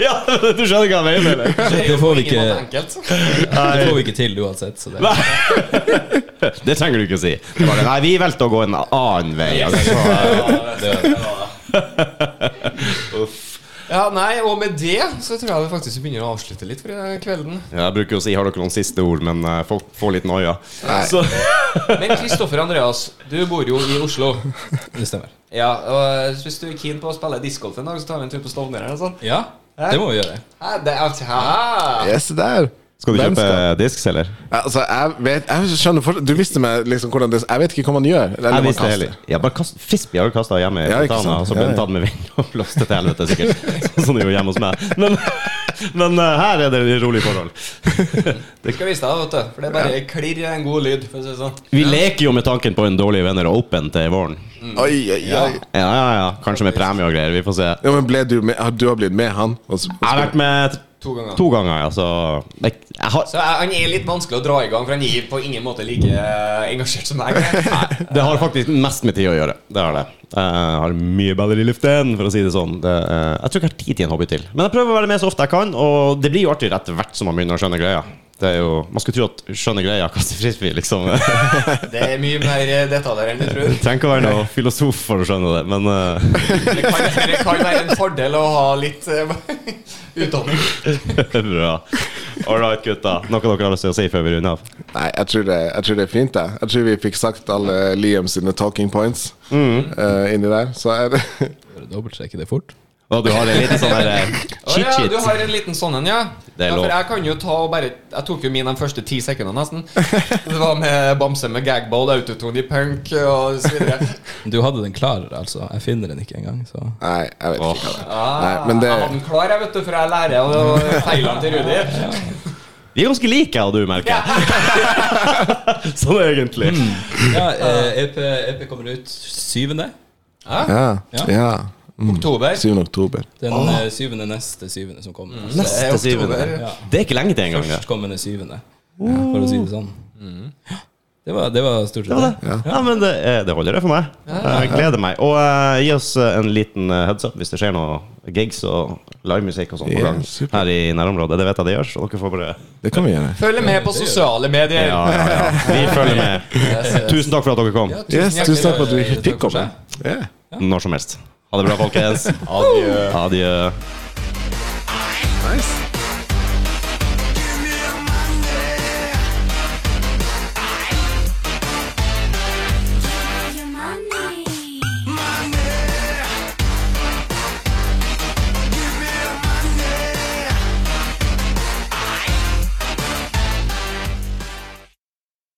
Speaker 1: Ja, Du skjønner hva jeg mener? eller?
Speaker 2: Det er jo
Speaker 4: Det får
Speaker 2: på ingen
Speaker 4: vi ikke-
Speaker 2: måte enkelt.
Speaker 4: Det får vi ikke til uansett. Så det.
Speaker 1: Det trenger du ikke å si. Det er Bare, nei, vi valgte å gå en annen vei. Altså.
Speaker 2: Ja, nei, og med det så tror jeg vi faktisk begynner å avslutte litt for i dag kvelden.
Speaker 1: Ja, Jeg bruker å si 'har dere noen siste ord', men eh, folk får litt noia. Så
Speaker 2: Men Kristoffer Andreas, du bor jo i Oslo.
Speaker 4: det stemmer.
Speaker 2: Ja, og Hvis du er keen på å spille discgolf en dag, så tar vi en tur på Stovner eller noe sånt.
Speaker 4: Ja, det må vi gjøre.
Speaker 2: Hæ, det er, hæ?
Speaker 3: Yes, der.
Speaker 1: skal du
Speaker 3: Hvem
Speaker 1: kjøpe disk, eller?
Speaker 3: Ja, Altså, jeg vet Jeg skjønner for, Du viste meg liksom hvordan det Jeg vet ikke hva man gjør. Eller
Speaker 1: Jeg
Speaker 3: man
Speaker 1: visste
Speaker 3: kaster.
Speaker 1: heller Ja, bare kast Fisby har jo kasta hjemme i
Speaker 3: Ja, ikke
Speaker 1: Fontana, og
Speaker 3: sant?
Speaker 1: så ble
Speaker 3: Ja,
Speaker 1: den
Speaker 3: ja.
Speaker 1: tatt med vind og blåste til helvete, sikkert. Sånn som det gjorde hjemme hos meg. Men, men eh, her er det rolig forhold.
Speaker 2: Det skal vise deg, vet du. For det er bare klirr en god lyd. For å si det sånn
Speaker 1: Vi leker jo med tanken på en dårlig venner open til våren.
Speaker 3: Oi, oi, oi.
Speaker 1: Ja, ja, ja. Kanskje med premie og greier. Vi får se.
Speaker 3: Ja, men ble du med har- Du har blitt med han? Og så,
Speaker 1: Jeg har vært med
Speaker 2: To ganger.
Speaker 1: to ganger, altså. Jeg, jeg har,
Speaker 2: Så jeg, han er litt vanskelig å dra i gang, for han er på ingen måte like eh, engasjert som meg. Nei.
Speaker 1: det har faktisk mest med tid å gjøre. Det har det. Jeg har mye baller i luften, for å si det sånn. Det, eh, jeg tror ikke jeg har tid til en hobby til. Men jeg prøver å være med så ofte jeg kan, og det blir jo artig etter hvert som man begynner å skjønne greia. Det er jo, Man skulle tro at skjønne greia kaster frisbee, liksom.
Speaker 2: Det er mye mer eh, detaljer enn du tror.
Speaker 1: Jeg trenger ikke å være noe filosof for å skjønne det, men eh,
Speaker 2: Det kan, det kan være en fordel å ha litt eh, utdanning.
Speaker 1: eh, bra. All right, gutta. Noe dere har lyst til å si før vi runder av?
Speaker 3: Nei, jeg tror, det, jeg tror det er fint, jeg. Jeg tror vi fikk sagt alle Liam sine talking points
Speaker 4: Mm.
Speaker 3: eh, inni der. Så er det
Speaker 4: Bare Dobbeltsjekke det fort.
Speaker 1: Og du har en liten sånn der eh,
Speaker 2: Å ja,
Speaker 1: chit-chit.
Speaker 2: du har en liten sånn en, ja?
Speaker 1: Det er
Speaker 2: ja
Speaker 1: lov.
Speaker 2: for jeg kan jo ta og bare Jeg tok jo min de første ti sekundene, nesten. Det var med bamse med gagball, autotone i punk og så videre.
Speaker 4: Du hadde den klar, altså. Jeg finner den ikke engang, så
Speaker 3: Nei, jeg vet ikke. hva det er. Nei, men
Speaker 4: Ah,
Speaker 2: Jeg hadde
Speaker 3: det
Speaker 2: den klar, jeg, vet du, for jeg lærer og feilene til Rudi.
Speaker 1: Vi er ganske like, jeg og du, merker jeg. sånn egentlig.
Speaker 2: Mm.
Speaker 4: Ja, eh, EP, EP kommer ut syvende.
Speaker 3: Ja.
Speaker 4: Ja.
Speaker 3: ja.
Speaker 2: Oktober.
Speaker 3: 7. oktober.
Speaker 4: Den eh, syvende neste syvende som kommer.
Speaker 1: Mm.
Speaker 2: Det er
Speaker 4: Altså,
Speaker 1: Neste
Speaker 2: oktober,
Speaker 1: syvende.
Speaker 4: ja.
Speaker 1: Det er ikke lenge til engang. det.
Speaker 4: Førstkommende syvende, for å si det sånn. Det var, det var stort
Speaker 1: Mm. Det var det.
Speaker 4: sett det.
Speaker 1: Ja. men det, eh, det holder det for meg. Jeg gleder meg. Og eh, gi oss eh, en liten eh, heads up hvis det skjer noe gigs og livemusikk og sånn på
Speaker 3: Ja,
Speaker 1: gang
Speaker 3: super.
Speaker 1: her i nærområdet. Det vet jeg det gjør, så dere får bare
Speaker 3: Det kan vi gjøre.
Speaker 2: Følg med på sosiale medier.
Speaker 1: Ja, ja, ja. Vi følger med. Tusen takk for at dere kom.
Speaker 3: Yes,
Speaker 4: hjertelig
Speaker 3: tusen takk for at du
Speaker 4: takk
Speaker 3: fikk
Speaker 4: for
Speaker 3: komme. Ja.
Speaker 1: Når som helst. Ha det bra, folkens. Adjø. Adjø.
Speaker 3: Nice.